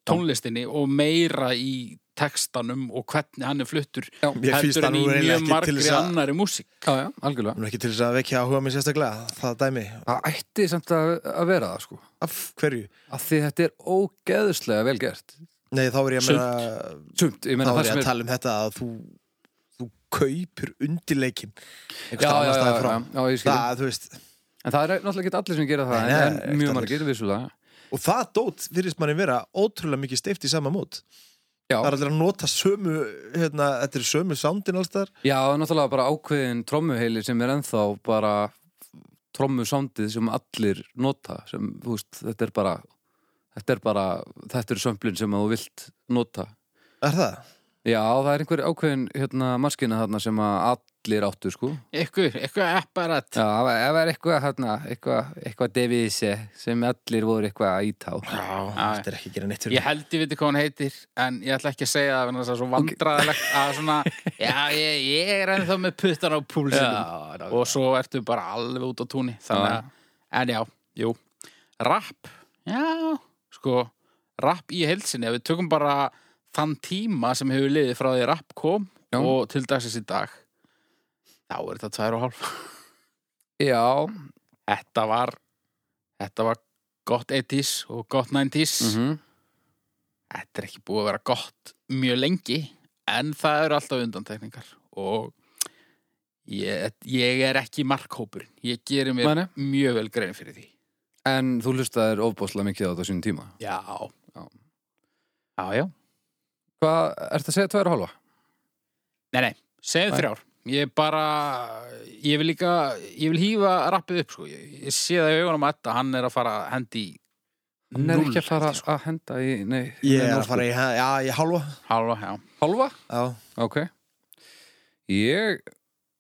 S1: tónlistinni og meira í textanum og hvernig hann er fluttur
S2: Já,
S3: Mér finnst
S1: heldur
S3: það
S1: en í
S3: nú eiginlega
S1: mjög
S3: ekki til
S1: margri
S3: þess að-
S1: annari músík
S2: já, já, algjörlega.
S3: Nú er ekki til þess að vekja áhuga mér sérstaklega, það dæmi.
S2: Það ætti samt að, að vera það, sko.
S3: Af hverju?
S2: Af því þetta er ógeðslega vel gert.
S3: Nei, þá er ég að meina,
S2: Sumt, ég
S3: þá
S2: meina
S3: er
S2: það
S3: ég
S2: sem
S3: að
S2: er...
S3: tala um þetta að þú, þú kaupir undirleikin.
S2: Já, já, já, já, já, ég skil.
S3: Það, þú veist,
S2: En það er náttúrulega ekki allir sem gera það,
S3: Nei,
S2: en-
S3: nei,
S2: en,
S3: ekki allir.
S2: mjög margir, vissulega.
S3: og það dót virðist manni vera ótrúlega mikið steift í sama mót.
S2: Já,
S3: Það er allir að nota sömu, hérna, þetta er sömu soundin alls þar.
S2: já, það er náttúrulega bara ákveðin trommuheili sem er ennþá bara trommusándið sem allir nota, sem, þú veist, þetta er bara, þetta er bara, þetta er sömplin sem þú vilt nota.
S3: Er það?
S2: Já, það er einhver ákveðin, hérna, maskina þarna sem að allir áttu, sko.
S1: eitthvað, eitthvað apparat
S2: Já, ef það er eitthvað, hérna, eitthvað, eitthvað devísi sem allir voru eitthvað að ítá.
S1: Já,
S3: Þetta er ekki að gera neitt fyrir
S1: Ég held ég viti hvað hann heitir en ég ætla ekki að segja það vegna þess að það er svo vandræðilegt að svona, já, ég, ég er ennþá með puttan á púlsinum
S2: já.
S1: og svo ertu bara alveg út á túnni þannig að, en já, jú Rapp, já sko, rapp í heilsinni ef við tökum bara þann tíma sem hefur liðið frá því rapp kom
S2: Já.
S1: og til dagsins í dag þá er þetta tvær og hálf
S2: Já,
S1: Þetta var, þetta var gott 80s og gott 90s
S2: mhm.
S1: þetta er ekki búið að vera gott mjög lengi en það eru alltaf undantekningar og ég, ég er ekki markhópurinn ég gerir mér
S2: Nei, nei.
S1: mjög vel grein fyrir því
S2: en þú hlustaðir ofbóðslega mikið á þetta á sínum tíma.
S1: já já,
S2: Já.
S1: já, já.
S2: Hvað, ertu að segja tværa hálfa?
S1: nei, nei, segðu
S2: Nei.
S1: þrjár ég bara, ég vil líka ég vil hýfa rappið upp sko ég, ég sé það í augunum að þetta, hann er að fara að hendi í
S2: Hann er ekki
S1: núll,
S2: að fara
S1: held ég,
S2: að henda í, nei,
S3: Ég
S2: nei,
S3: er
S2: núll,
S3: að fara í, já, ég halva.
S1: sko. hálfa, já,
S2: Hálfa?
S3: Já.
S2: Ok. Ég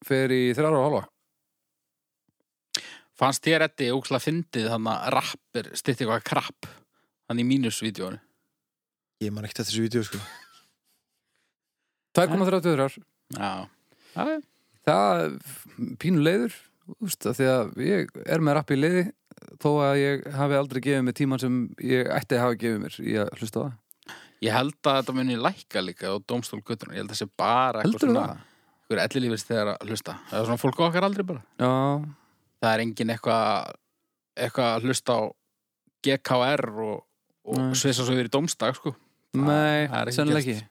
S2: fer í þrjára og hálfa.
S1: fannst þér þetta ókslega fyndið þannig að rapp er stitt eitthvað krapp þannig í mínusvídeónu
S3: Ég man ekkert eftir þessu vídeo, sko.
S2: 2,33.
S1: já, já, já
S2: Það er pínu leiður, úst, því að ég er með rapp í leiði þó að ég hafi aldrei gefið mér tíman sem ég ætti að hafa gefið mér í að hlusta á það.
S1: Ég held að þetta muni lækka líka á domstólgötunum, ég held að það sé bara eitthvað
S2: Heldurðu það?
S1: Ykkur ellilífis þegar að hlusta Það er svona fólk á okkar aldrei bara
S2: Já,
S1: Það er engin eitthvað eitthvað að hlusta á GKR og,
S2: Nei.
S1: og svissa svo yfir í domstag sko. Það- það er
S2: nei,
S1: ekki
S2: sennilega
S1: gert.
S2: ekki.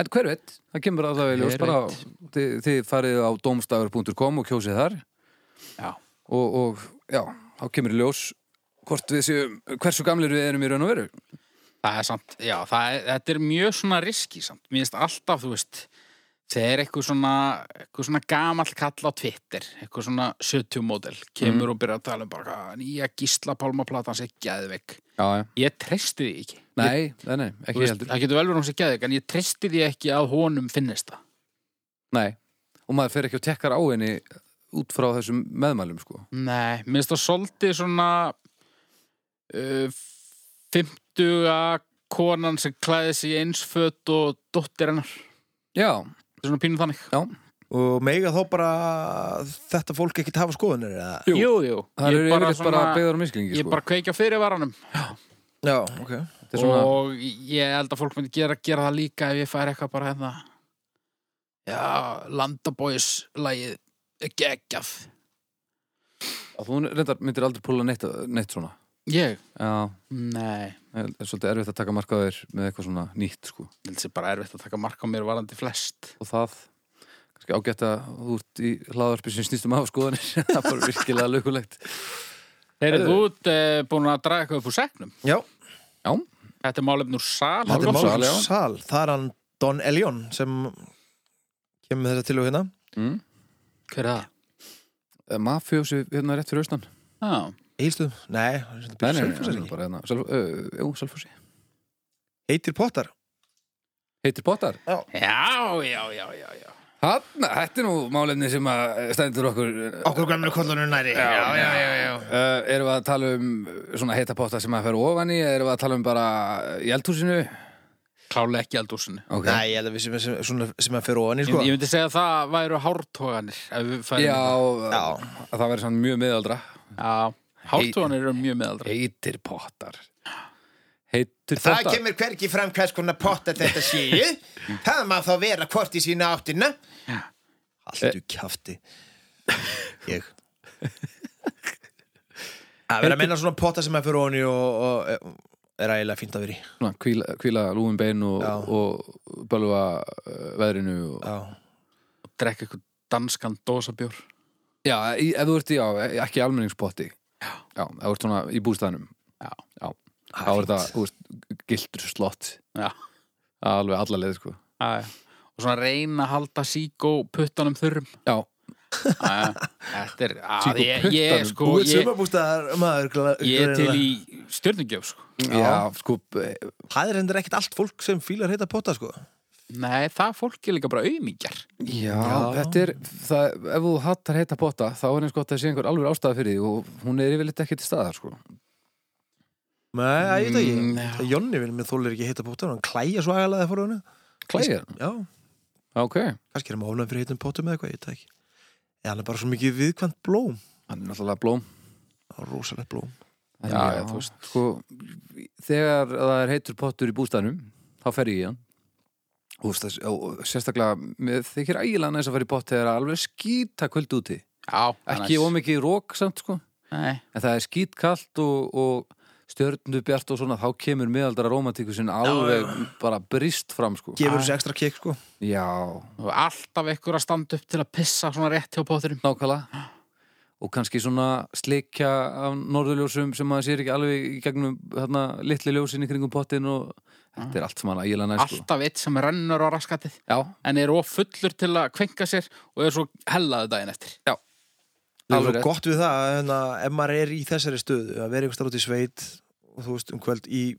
S2: En hver veit, það kemur allavega í ljós
S1: Hver
S2: bara, á-
S1: veit?
S2: þið, þið farið á domstafur.com og kjósið þar
S1: Já,
S2: og, og já, þá kemur í ljós hvort við séum, hversu gamlir við erum í raun og veru
S1: það er samt Já, það er, þetta er mjög svona riski samt Mér finnst alltaf, þú veist Þegar eitthvað svona, eitthvað svona gamall kall á Twitter, eitthvað svona 70 módel, kemur og byrjar að tala um bara "Ah, nýja gísla pálmaplatan sé geðveik.
S2: Já, já
S1: Ég treysti því ekki. Ég
S2: Nei, nei, nei,
S1: Þú
S2: ekki
S1: veist,
S2: heldur
S1: það getur vel verið hún sem geðið en ég treysti því ekki að honum finnist það
S2: Nei, og maður fer ekki og tekkar á henni út frá þessum meðmælum sko
S1: nei, minnst það svolítið svona uh, 50 konan sem klæði sig í eins fött og dóttir hennar
S2: Já,
S1: Það er svona pínu þannig
S2: já,
S3: Og mega þá bara þetta fólk ekkert hafa skoðunir, eða?
S2: Jú.
S1: jú, jú.
S2: það
S1: ég
S2: eru
S1: bara,
S2: yfirleitt
S1: svona,
S2: bara beigðar og misklingi
S1: ég
S2: sko
S1: bara kveikja fyrir varanum
S3: Já, ok.
S2: Þetta er svona,
S1: og ég held að fólk myndi gera, gera það líka ef ég fær eitthvað bara hérna já, landabóis lagið geggjaf
S2: Þú reyndar myndir aldrei púla neitt, neitt svona
S1: ég,
S2: Já,
S1: nei
S2: það er svolítið erfitt að taka markaður með eitthvað svona nýtt sko
S1: Ég held sér bara erfitt að taka mark á mér varandi flest
S2: og það kannski ágætt að þú ert í hlaðarpi sem snýstum af skoðanir það er bara virkilega lögulegt
S1: Þeir eru út uh, búin að draga eitthvað upp úr segnum.
S3: Já,
S2: Já,
S1: Þetta er málefnur sal.
S3: þetta er
S2: Hálfan
S3: málum
S2: sal, já.
S3: sal Það er hann Don Elion sem kemur með þessa til og hérna
S2: mm.
S1: Hver er það?
S2: mafjósi Eh, hérna rétt fyrir austan
S1: Já,
S3: Egilstöðum, nei, hann er sem
S2: Nei, nei,
S3: þetta
S2: nei,
S3: byrjað
S2: hann er bara hérna Sölf- ö, Jú, Salfossi
S3: Heitir Potter
S2: Heitir Potar
S1: já, já, já, já. já.
S2: Hanna, þetta er nú málefni sem að eh, stendur okkur uh,
S3: Okkur gamlu kollunum næri
S1: Já, já, já, já.
S2: Erum við að tala um eh, svona heita potta sem að fer ofan í Erum við að tala um bara eh, í eldhúsinu
S1: Klálega ekki aldúsinu.
S2: okay.
S3: Nei, ég held að við sem, sem, svona, sem að fyrir ofan í
S1: Ég,
S3: sko
S1: ég myndi segja að það væru hártóganir. ef við færum-
S2: Já, já,
S3: Já.
S2: það verður svona mjög miðaldra
S1: já. Hártóganir eru mjög meðaldra.
S2: Heitir Potar Heitir
S4: Það
S2: Potar
S4: kemur hvergi fram hvers konar potta þetta séu. það má þá vera hvort í sína áttina.
S3: Haldu kjafti Ég Að vera að menna svona potta sem er fyrir ofan í og, og e, er ægilega fínt að vera í
S2: svona, kvíla, kvíla lúin bein og,
S3: Já.
S2: og bölva uh, veðrinu og...
S3: Já,
S1: Drekka eitthvað danskan dósabjór.
S2: Já, í, ef þú ert í, já, ekki í almenningspotti Já, já ef þú ert svona í bústæðnum
S1: Já.
S2: já. þá er það, þú veist, gildur slott
S1: Já,
S2: alveg alla leið, sko
S1: já, já. Og svona reyna að halda síkó puttanum þurrum.
S2: Já,
S1: Já, já. Þetta er,
S2: Síkó
S1: að ég, ég,
S2: puttanum.
S1: sko,
S3: Þú ert
S1: ég,
S3: sumabústaðar maður gla-
S1: ég er til
S3: greinilega.
S1: í stjörningjöf, sko.
S2: já, sko eh,
S3: Það er hendur ekkert allt fólk sem fílar heita potta sko
S1: Nei, það fólk er líka bara auðmingjar.
S2: Já, þetta er, það, ef þú hattar heita potta, þá er eins gott að sé einhver alveg ástæða fyrir því og hún er yfirleitt ekki til staðar, sko
S3: Nei, að ég veit ekki
S1: Mm, já.
S3: Það Jonni vil með þólir ekki heita potta Hann klæja svo ægilega fyrir honum
S2: Klæðir,
S3: Já,
S2: ok Hann
S3: kannski er hann ofnum fyrir heitum pottum eða eitthvað, ég veit það ekki Eða hann er bara svo mikið viðkvæmt blóm
S2: er náttúrulega blóm
S3: Það er rosalegt blóm
S2: En
S1: Já,
S2: já,
S1: þú veist.
S2: sko, þegar það er heitur pottur í bústæðnum þá fer ég í hann og þú veist, það- og- og sérstaklega mér þykir ægilega næst að fara í pott þegar það er alveg skýta kvöld úti
S1: Já,
S2: ekki ómikið rók samt sko en
S1: Nei,
S2: það er skýtkalt og, og stjörndu bjart og svona þá kemur miðaldara romantíku sinni alveg bara brist fram sko
S3: Gefur
S1: Ah.
S3: þessu ekstra kikk, sko
S2: já,
S1: og alltaf ekkur að standa upp til að pissa svona rétt hjá pótturum.
S2: nákvæmlega og kannski svona slikja af norðurljósum sem maður sér ekki alveg í gegnum hérna, litli ljósin í kringum pottin og þetta er allt sem hann ægilega næst sko
S1: Alltaf eitt sem rennur á raskatið
S2: Já,
S1: en er of fullur til að kvenka sér og er svo hellaðu daginn eftir.
S3: Það er svo
S2: Alveg rétt.
S3: gott við það en að hérna, ef maður er í þessari stöðu að vera einhver starf út í sveit og þú veist um kvöld í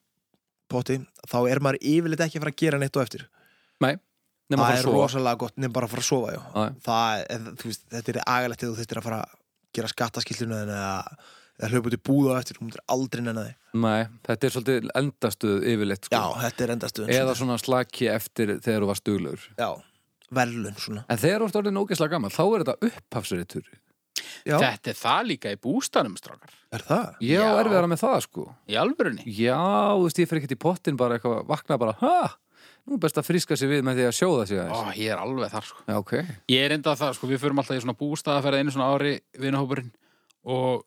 S3: potti þá er maður yfirleitt ekki að fara að gera neitt og eftir
S2: nema
S3: Það er
S2: að fara að sofa
S3: rosalega gott nefn bara að fara að sofa, já
S2: Já, já.
S3: það, en, þú veist, Þetta er agalegt eða þú þurftir að fara að gera skattaskilluna en að eða hlaupa út í búða eftir, hún myndir aldrei nenni því
S2: Nei, þetta er svolítið endastuð yfirleitt
S3: Já,
S2: sko.
S3: þetta er endastuðun
S2: eða svona slaki eftir þegar þú varst duglur
S3: Já, verðlun svona
S2: en þegar þú ert orðin ógeðslega gammal þá er þetta upphafsreitur
S3: Já,
S1: Þetta er það líka í bústanum, strákar.
S3: er það?
S2: ég á
S1: Já.
S2: erfiðara með það sko
S1: Í alvörunni.
S2: já, þú veist, ég fer ekkert í pottin bara eitthvað vakna bara, ha, nú er best að friska sér við með því að sjóða sér aðeins
S1: Ó, ég er alveg þar, sko.
S2: já, ok,
S1: Ég er enda það, sko, við förum alltaf í svona bústaðaferð einu svona ári vinahópurinn og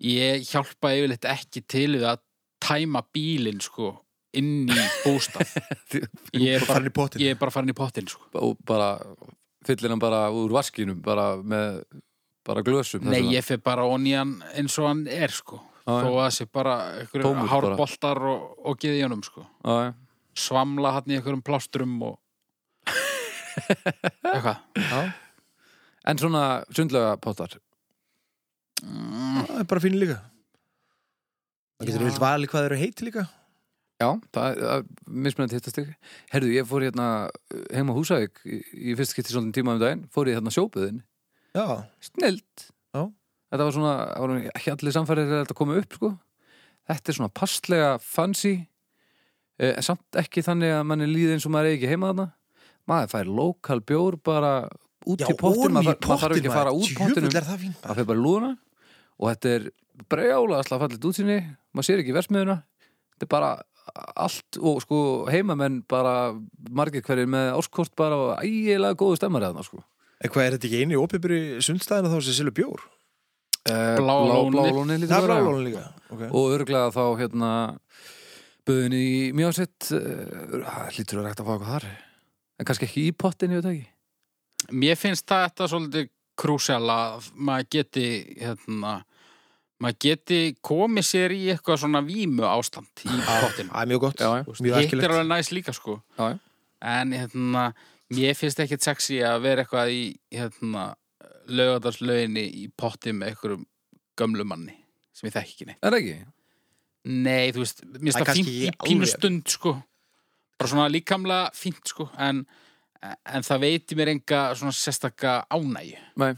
S1: ég hjálpa yfirleitt ekki til við að tæma bílinn, sko, inn í bústað. Ég er
S3: Bara farin
S1: bara,
S3: í pottin
S1: ég er bara farin í pottin, sko.
S2: og bara fyllir hann bara úr vaskinum bara með, bara glösum þess
S1: Nei,
S2: vegna.
S1: ég fyrir bara onýjan eins og hann er, sko.
S2: Já,
S1: Þó að það sé bara einhverju
S2: Tómur bara.
S1: hárboltar og, og geði í honum, sko.
S2: Já, já.
S1: Svamla hann í einhverjum plástrum og... Eitthvað.
S2: en svona sundlega pottar
S1: Mm.
S3: Það er bara fín líka Það getur
S1: Já.
S3: vilt valið hvað þeir eru heiti líka
S2: Já, það er mismunandi hittastig Herðu, ég fór hérna uh, heim á Húsavík í, í fyrst skipti svolítið tíma um daginn fór ég hérna sjóbuðin,
S3: Já,
S2: snilt
S3: Já.
S2: Þetta var svona, það voru ekki allir samfærið þegar þetta komið upp, sko Þetta er svona passlega fancy eh, en samt ekki þannig að manni líði eins og maður er ekki heima þarna maður fær lokal bjór bara út í pottin, maður, þarf- maður þarf ekki að fara út pottinum
S3: Jöfull er það fín
S2: það fyrir bara í lúðuna og þetta er brjála alltaf fallit útsýni maður sér ekki versmiðuna þetta er bara allt og sko heimamenn bara margir hverjir með áskort bara og ægilega góðu stemmar eða sko.
S3: En hvað er þetta ekki einu í opibri sundstæðina þá sem selur bjór?
S2: Eh,
S1: Bláa lónið.
S2: bláa lónið lítur
S3: Það er
S2: að vera.
S3: blálónu líka okay.
S2: og örglega þá hérna buðin í eh, mjósett uh, lítur að rækta að fá eitthvað þar en kannski ekki í pottin, ég veit það ekki
S1: Mér finnst þetta svolítið krúsjál að maður geti, hérna, maður geti komið sér í eitthvað svona vímu ástand í pottinum.
S3: Það er mjög gott,
S2: Já, já.
S3: mjög
S1: Hitt er
S3: æskilegt
S1: alveg næst líka, sko.
S2: Já, já.
S1: En, hérna, mér finnst ekkit sexy að vera eitthvað í, hérna, laugardarslauginni í potti með einhverjum gömlum manni sem ég þekki ekki neitt.
S2: Er það ekki?
S1: Nei, þú veist, mér
S3: Það
S1: finnst það
S3: er
S1: fínt
S3: kannski
S1: í
S3: ekki
S1: pínu
S3: alveg.
S1: stund, sko bara svona líkamlega fínt, sko en, en það veiti mér enga svona sérstaka ánægju
S2: Nei.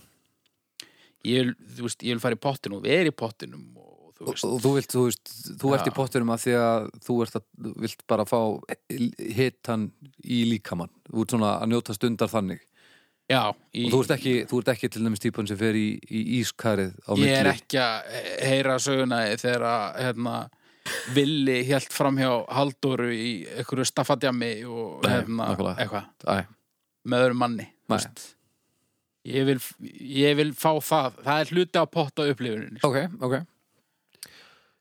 S1: Ég vil, þú veist, ég vil fara í pottinum og vera í pottinum og þú
S2: og
S1: veist,
S2: og þú vilt, þú veist, þú ert í
S1: Já.
S2: pottinum að því að þú ert að, þú vilt bara fá hitan í líkamann þú ert svona að njóta stundar þannig
S1: já í,
S2: og þú ert ekki, þú ert ekki til dæmis típan sem fer í, í ískarið á
S1: Ég er
S2: milli
S1: ekki að heyra söguna þegar að, hérna Villi hélt framhjá Halldóru í einhverju staffadjami og
S2: Nei,
S1: hérna,
S2: nákvæmlega.
S1: eitthvað
S2: Æ,
S1: með öðrum manni þú
S2: Nei.
S1: veist. ég vil, ég vil fá það það er hluti að potta upplifuninni
S2: ok, ok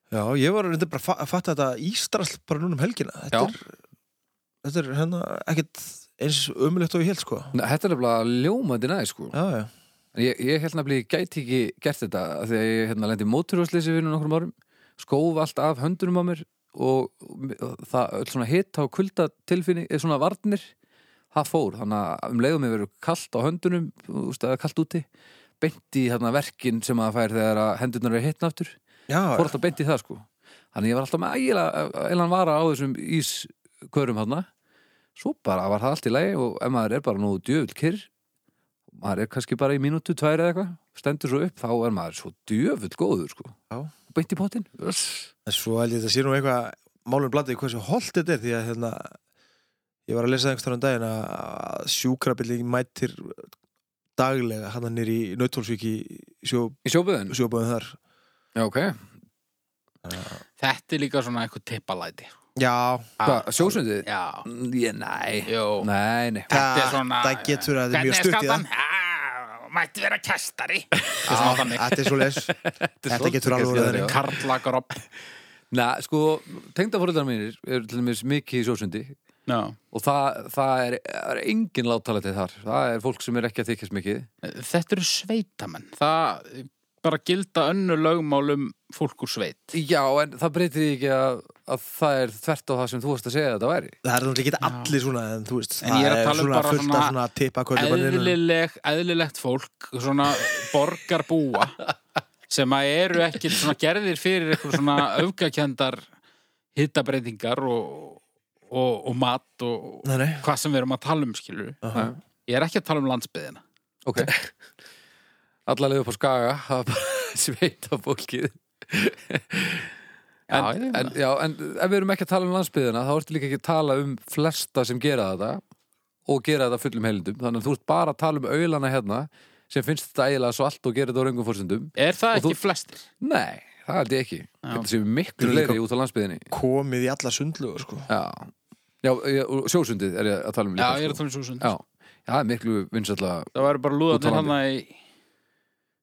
S3: Já, ég var reynda bara að fa- að fatta þetta ístrasl bara núna um helgina Þetta
S2: Já.
S3: er, þetta er hérna ekkert eins ömulegt og ég held sko
S2: Nei, Þetta er nefnilega ljómandi næ, sko
S3: Já, já,
S2: En Ég, ég held nefnilega, ég gæti ekki gert þetta af því að ég hérna, lendi móturhúsleysi fyrir nokkrum árum skóf allt af höndunum á mér og, og það öll svona hita og kulda tilfinni, eða svona varnir það fór, þannig að um leiðum ég verið kalt á höndunum, þú veist, eða kalt úti beint í hérna, verkin sem að fær þegar að hendurnar eru hitna aftur
S3: já,
S2: fór alltaf beint í það sko þannig ég var alltaf með ægilega eh, eilan vara á þessum ískörum hann svo bara var það allt í lagi og ef maður er bara nú djöfull kyrr maður er kannski bara í mínútu, tvær eða eitthvað stendur svo upp, þá er maður svo djöfull góður sko,
S3: Já.
S2: beint í pottin Uss.
S3: En svo held ég þetta sé nú eitthvað málum bladið hversu holt þetta er því að hérna, ég var að lesa einhvers þarum daginn að sjúkrabilling mætir daglega hann hann er í Nauthólsvík í sjó,
S2: í sjóbuðin
S3: sjóböðum þar
S2: já, ok,
S1: þetta er líka svona einhver tippalæti
S3: Já,
S2: hvað, sjósundið?
S1: já,
S2: Mm, ég, nei,
S1: jú
S2: nei, nei
S1: þetta er svona
S3: það getur að þetta er mjög stutt í það.
S1: það mætti vera kæstari
S3: Já, þetta er svo les Þetta getur alveg
S2: kannski
S3: verið
S2: þannig,
S3: þannig.
S1: karlagar upp
S2: Nei, sko, tengdafóreldrar mínir er til dæmis mikið í sjósundi
S1: Já.
S2: og það, það er, það er engin láttalæti þar það er fólk sem er ekki að þykjast mikið
S1: þetta eru sveitamenn það bara gilda önnu lögmálum fólk úr sveit
S2: já, en það breytir því ekki að, að það er þvert á það sem þú varst að segja að þetta væri
S3: Það er náttúrulega ekki allir svona en þú veist,
S1: En ég er að tala
S3: það
S1: um
S3: svona
S1: bara
S3: fullt
S1: svona
S3: af svona tippa
S1: eðlileg, eðlilegt fólk svona borgarbúa sem að eru ekki svona gerðir fyrir eitthvað svona öfgakendar hittabreitingar og, og, og mat og
S3: Nei, nei,
S1: hvað sem við erum að tala um skilur
S3: Aha.
S1: ég er ekki að tala um landsbyðina
S2: ok allalegu upp á skaga það er bara sveita fólkið en,
S1: Já, ég-
S2: en, já, en ef við erum ekki að tala um landsbyðina þá ertu líka ekki að tala um flesta sem gera þetta og gera þetta fullum heilindum þannig að þú ert bara að tala um auðlana hérna sem finnst þetta eiginlega svo allt og gera þetta á raungum fórsendum
S1: er það
S2: Og þú-
S1: ekki flestir?
S2: Nei, það held ég ekki Þetta séu miklu
S3: Þú líka-
S2: fleiri út á landsbyðinni
S3: komið í alla sundlugur sko.
S2: Já, já ég- og sjósundið er ég að tala um
S1: já,
S2: líka
S1: ég er að
S2: sko.
S1: tala um svo sund
S2: Já, já, það er miklu vinsalla
S1: það væri bara
S2: Út á
S1: lúðarnir
S2: landi.
S1: hann að í...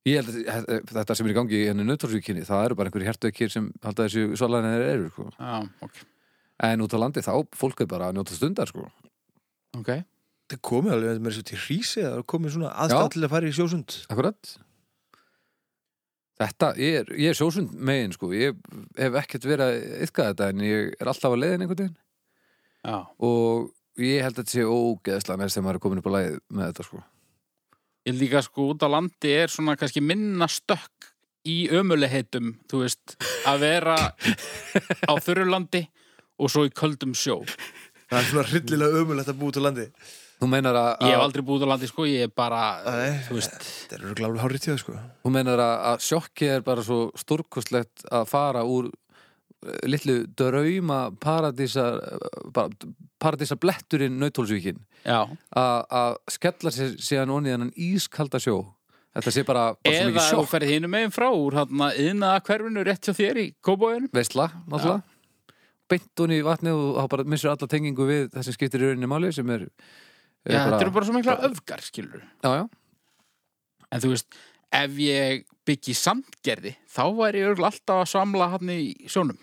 S2: Ég held að þetta sem er í gangi í henni nöttorsvíkinni, það eru bara einhverjir hertökir sem halda þessu svolagin þeir eru sko.
S1: já, ok,
S2: En út á landi þá, fólk er bara að njóta stundar sko.
S1: okay.
S3: Það komið alveg með þessu til hrísi það er komið svona aðstæð til að fara í sjósund
S2: Akkurat Þetta, ég er, ég er sjósund megin sko. Ég hef ekkert verið að yfka þetta en ég er alltaf að leiðin einhvern veginn
S1: já,
S2: og ég held að þetta sé ógeðslega næst þegar maður er komin upp á lagið með þetta sko.
S1: ég held líka sko út á landi er svona kannski minna stökk í ömuleheitum, þú veist að vera á þurrulandi og svo í köldum sjó ég
S3: Það er svona hryllilega ömulegt að búi til landi
S2: Þú meinar að,
S1: hef
S2: að,
S1: aldrei búið út á landi sko, ég er bara
S3: Nei.
S1: þú veist,
S2: Eh.
S3: Þetta eru glálega hárið tíða sko
S2: þú meinar að, að sjokki er bara svo stórkostlegt að fara úr eh, litlu drauma paradísa, eh, bara, paradísa bletturinn nautólsvíkin
S1: já
S2: að að skella sér síðan onni þennan ískalda sjó Þetta sé bara, bara svo
S1: eða
S2: mikið
S1: þú
S2: sjokk
S1: ferð hinum meginn frá úr hann að yðna hverfinu rétt hjá þér í kóbóinu
S2: veistla, náttúrulega beint hún í vatnið og þá bara missur alla tengingu við það sem skiptir í rauninni máli sem er, er
S1: já, þetta eru bara svo mikla öfgar, skilur
S2: já, já.
S1: en þú veist, ef ég byggi samtgerði, þá væri ég örugglega alltaf að samla hann í sjónum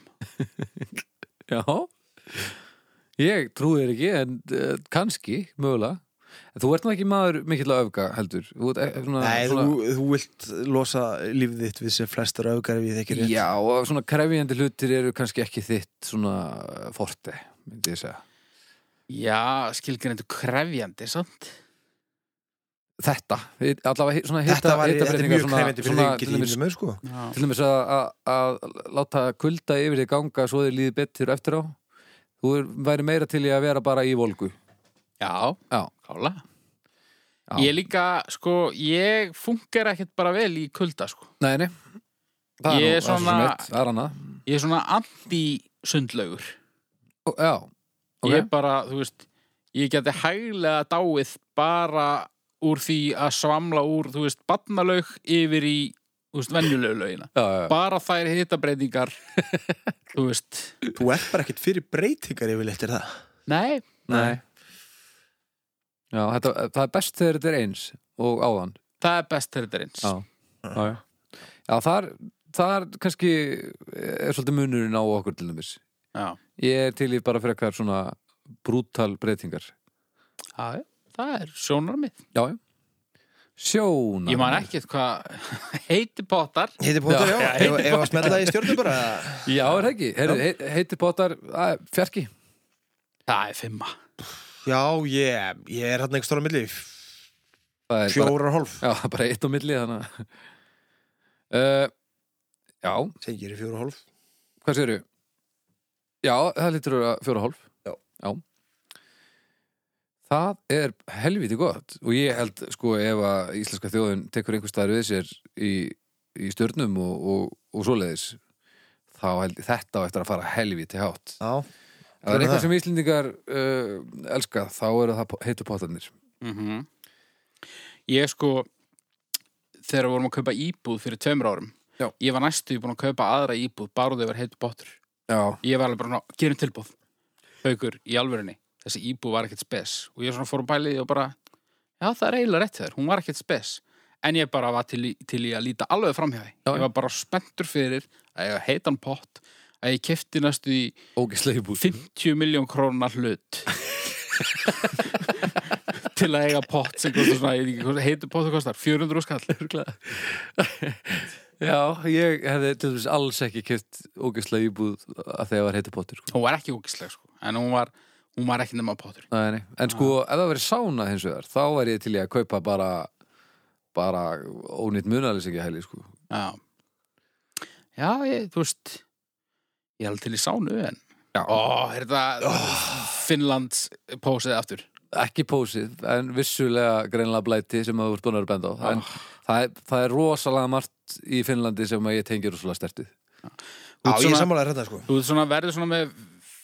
S2: Já Ég trúi þér ekki, en uh, eh, kannski, mögulega En Þú ert nú ekki maður mikill að öfga heldur Þú ert e- svona,
S3: Nei, þú,
S2: svona,
S3: þú vilt losa lífið þitt við sem flestar öfgar við ekki rétt.
S2: Já, og svona krefjandi hlutir eru kannski ekki þitt svona eh, forte myndi ég segja
S1: Já, skilgreindu krefjandi, samt?
S2: Þetta, hi- allavega hi- svona
S3: Þetta
S2: hita,
S3: var, þetta er
S2: hitabreytingar,
S3: mjög
S2: svona-
S3: krefindi fyrir
S2: svona
S3: þig,
S2: til
S3: getur
S2: dæmis-
S3: hýndið með, sko.
S1: Já.
S2: Til dæmis að, að, að láta kulda yfir þig ganga svo þið líði betur eftir á Þú er, væri meira til í að vera bara í volgu
S1: Já,
S2: Já.
S1: klála.
S2: Já.
S1: Ég líka, sko, ég funkar ekkert bara vel í kulda, sko.
S2: Nei, nei Það
S1: Ég
S2: er
S1: er
S2: nú- það er svo
S1: svona-
S2: sem eitt, það er annað
S1: Ég er svona anti-sundlaugur.
S2: Ó, Já, ok
S1: Ég bara, þú veist, ég geti hæglega dáið bara úr því að svamla úr, þú veist, barnalaug yfir í, þú veist, venjulegu laugina.
S2: já, já, já.
S1: Bara þær hitabreitingar, þú veist.
S3: Þú ert bara ekkert fyrir breytingar yfirleitt er það.
S1: Nei,
S2: Nei Já, þetta, það er best þegar þetta er eins og áðan
S1: það er best þegar þetta er eins.
S2: Já. Já, já. já þar, þar kannski er svolítið munurinn á okkur til dæmis
S1: Já.
S2: Ég er til í bara frekar svona brútal breytingar
S1: Já, já, það er sjónarmið.
S2: Já, já Sjónar
S1: Ég man ekkert hvað heiti pottar.
S3: Heiti Póta, já, ef ef að smella í stjórnum bara
S2: Já, er það ekki, Heyrðu, he- heitir bóttar fjarki
S1: Það er fimma.
S3: Já, ég, ég er hann einhver stóra milli
S2: Það er bara,
S3: Fjórar og hálf
S2: já, það er bara eitt á milli þannig að- uh, Já,
S3: Segir ég fjórar og hálf
S2: hvað séru? Já, það lítur að vera fjóra og hálf
S3: Já.
S2: Það er helviti gott og ég held sko ef að íslenska þjóðin tekur einhver staðar við sér í, í stjörnum og, og, og svoleiðis þá held þetta á eftir að fara helviti hátt
S3: Já,
S2: Ef það er
S3: Gerðu
S2: eitthvað
S3: það.
S2: sem Íslendingar uh, elska, þá eru það heitu pottarnir
S1: Mm Ég sko, þegar við vorum að kaupa íbúð fyrir tveimur árum,
S2: Já.
S1: ég var næstu búin að kaupa aðra íbúð bara þegar heitu pottur.
S2: Já,
S1: Ég var alveg bara, "Ná, gerum tilbúð. Haukur, í alvörinni, þessi íbúð var ekkert spes. Og ég svona fór að bæli og bara, já það er eiginlega rétt þér, hún var ekkert spes. En ég bara var til, í- til í að líta alveg framhjáði.
S2: Já,
S1: Ég
S2: já.
S1: var bara spenntur fyrir að ég heitan pott, að ég kefti næstu í
S2: ógislega í búð
S1: 50 miljón krónar hlut til að eiga pott sem kostar svona, ég veit ekki hvað heitir pott og kostar 400 skall
S2: Já, ég hefði til þess alls ekki keft ógislega í búð að þegar var heitu pottur sko.
S1: hún var ekki ógisleg sko, en hún var hún var ekki nema pottur
S2: Nei, nei. En sko, ef það verið sána hins vegar, þá er ég til í að kaupa bara, bara ónýtt munalýsingja heli, sko.
S1: já, já ég, þú veist ég held til í sánu en
S2: Já.
S1: ó, er þetta Finnlands pósið aftur
S2: Ekki pósið, en vissulega greinlega blæti sem þú ert búin að vera að benda á. En það er, það er rosalega margt í Finnlandi sem að ég tengi rosalega stertið.
S1: Þú
S3: já
S1: ert
S3: ég
S1: svona-
S3: sammálaði þetta sko
S1: þú veist svona verður svona með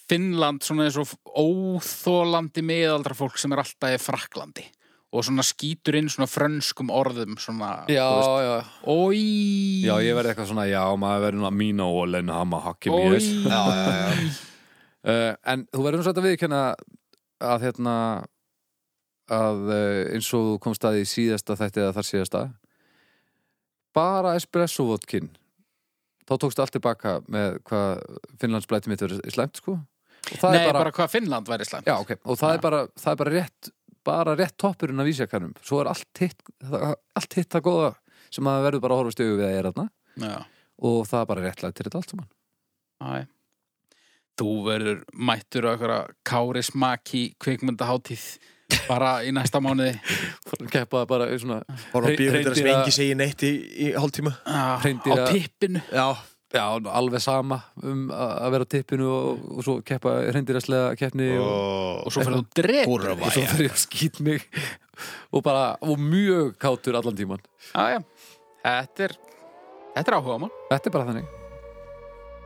S1: Finnland svona eins og óþólandi miðaldra fólk sem er alltaf í Fraklandi og svona skýtur inn svona frönskum orðum svona,
S2: Já, já.
S1: Ói
S2: Já, ég verði eitthvað svona, já, maður verður nú að mína og lenna hama hakki mér.
S1: Ói
S3: Já, já, já
S2: Uh, en þú verður nú svolítið að viðkjanna að hérna að uh, eins og þú komst að í síðasta þætti eða þar síðasta bara espressovodkin þá tókstu allt tilbaka með hvað Finnlandsblæti mitt verið slæmt sko og það
S1: Nei,
S2: er
S1: bara,
S2: bara,
S1: hvað Finnland væri slæmt
S2: já, ok, og það,
S1: Já.
S2: er bara, það er bara rétt bara rétt toppurinn af vísjakanum svo er allt hitt það, allt hitt það góða sem maður verður bara að horfa stöðu við að er þarna
S1: Já,
S2: og það er bara réttlægt til þetta allt saman
S1: já Þú verður mættur á einhverja Kári Smaki kvikmyndahátíð bara í næsta mánuði
S2: keppaði bara í svona
S3: Bara
S2: Hre-
S3: býður þetta sem
S2: hreindýra-
S3: engi segi neitt í, í hálftíma
S1: á, Ah, á
S2: Hreindýra-
S1: tippinu
S3: Já,
S2: Já, alveg sama um að að vera á tippinu og, og svo keppa reyndiraslega keppni og,
S1: og svo fyrir þú drepur
S3: Húrra,
S2: og svo fer ég að skýt mig og bara, og mjög kátur allan tíman
S1: Já, já Þetta er, þetta er áhuga mann
S2: Þetta er bara þannig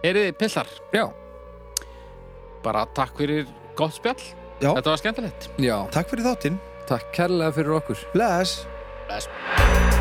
S1: Eriði pillar,
S2: Já,
S1: bara takk fyrir gott spjall
S3: Já.
S1: Þetta var skemmtilegt
S2: já,
S3: takk fyrir þáttinn
S2: takk kærlega fyrir okkur
S3: Bless
S1: Bless.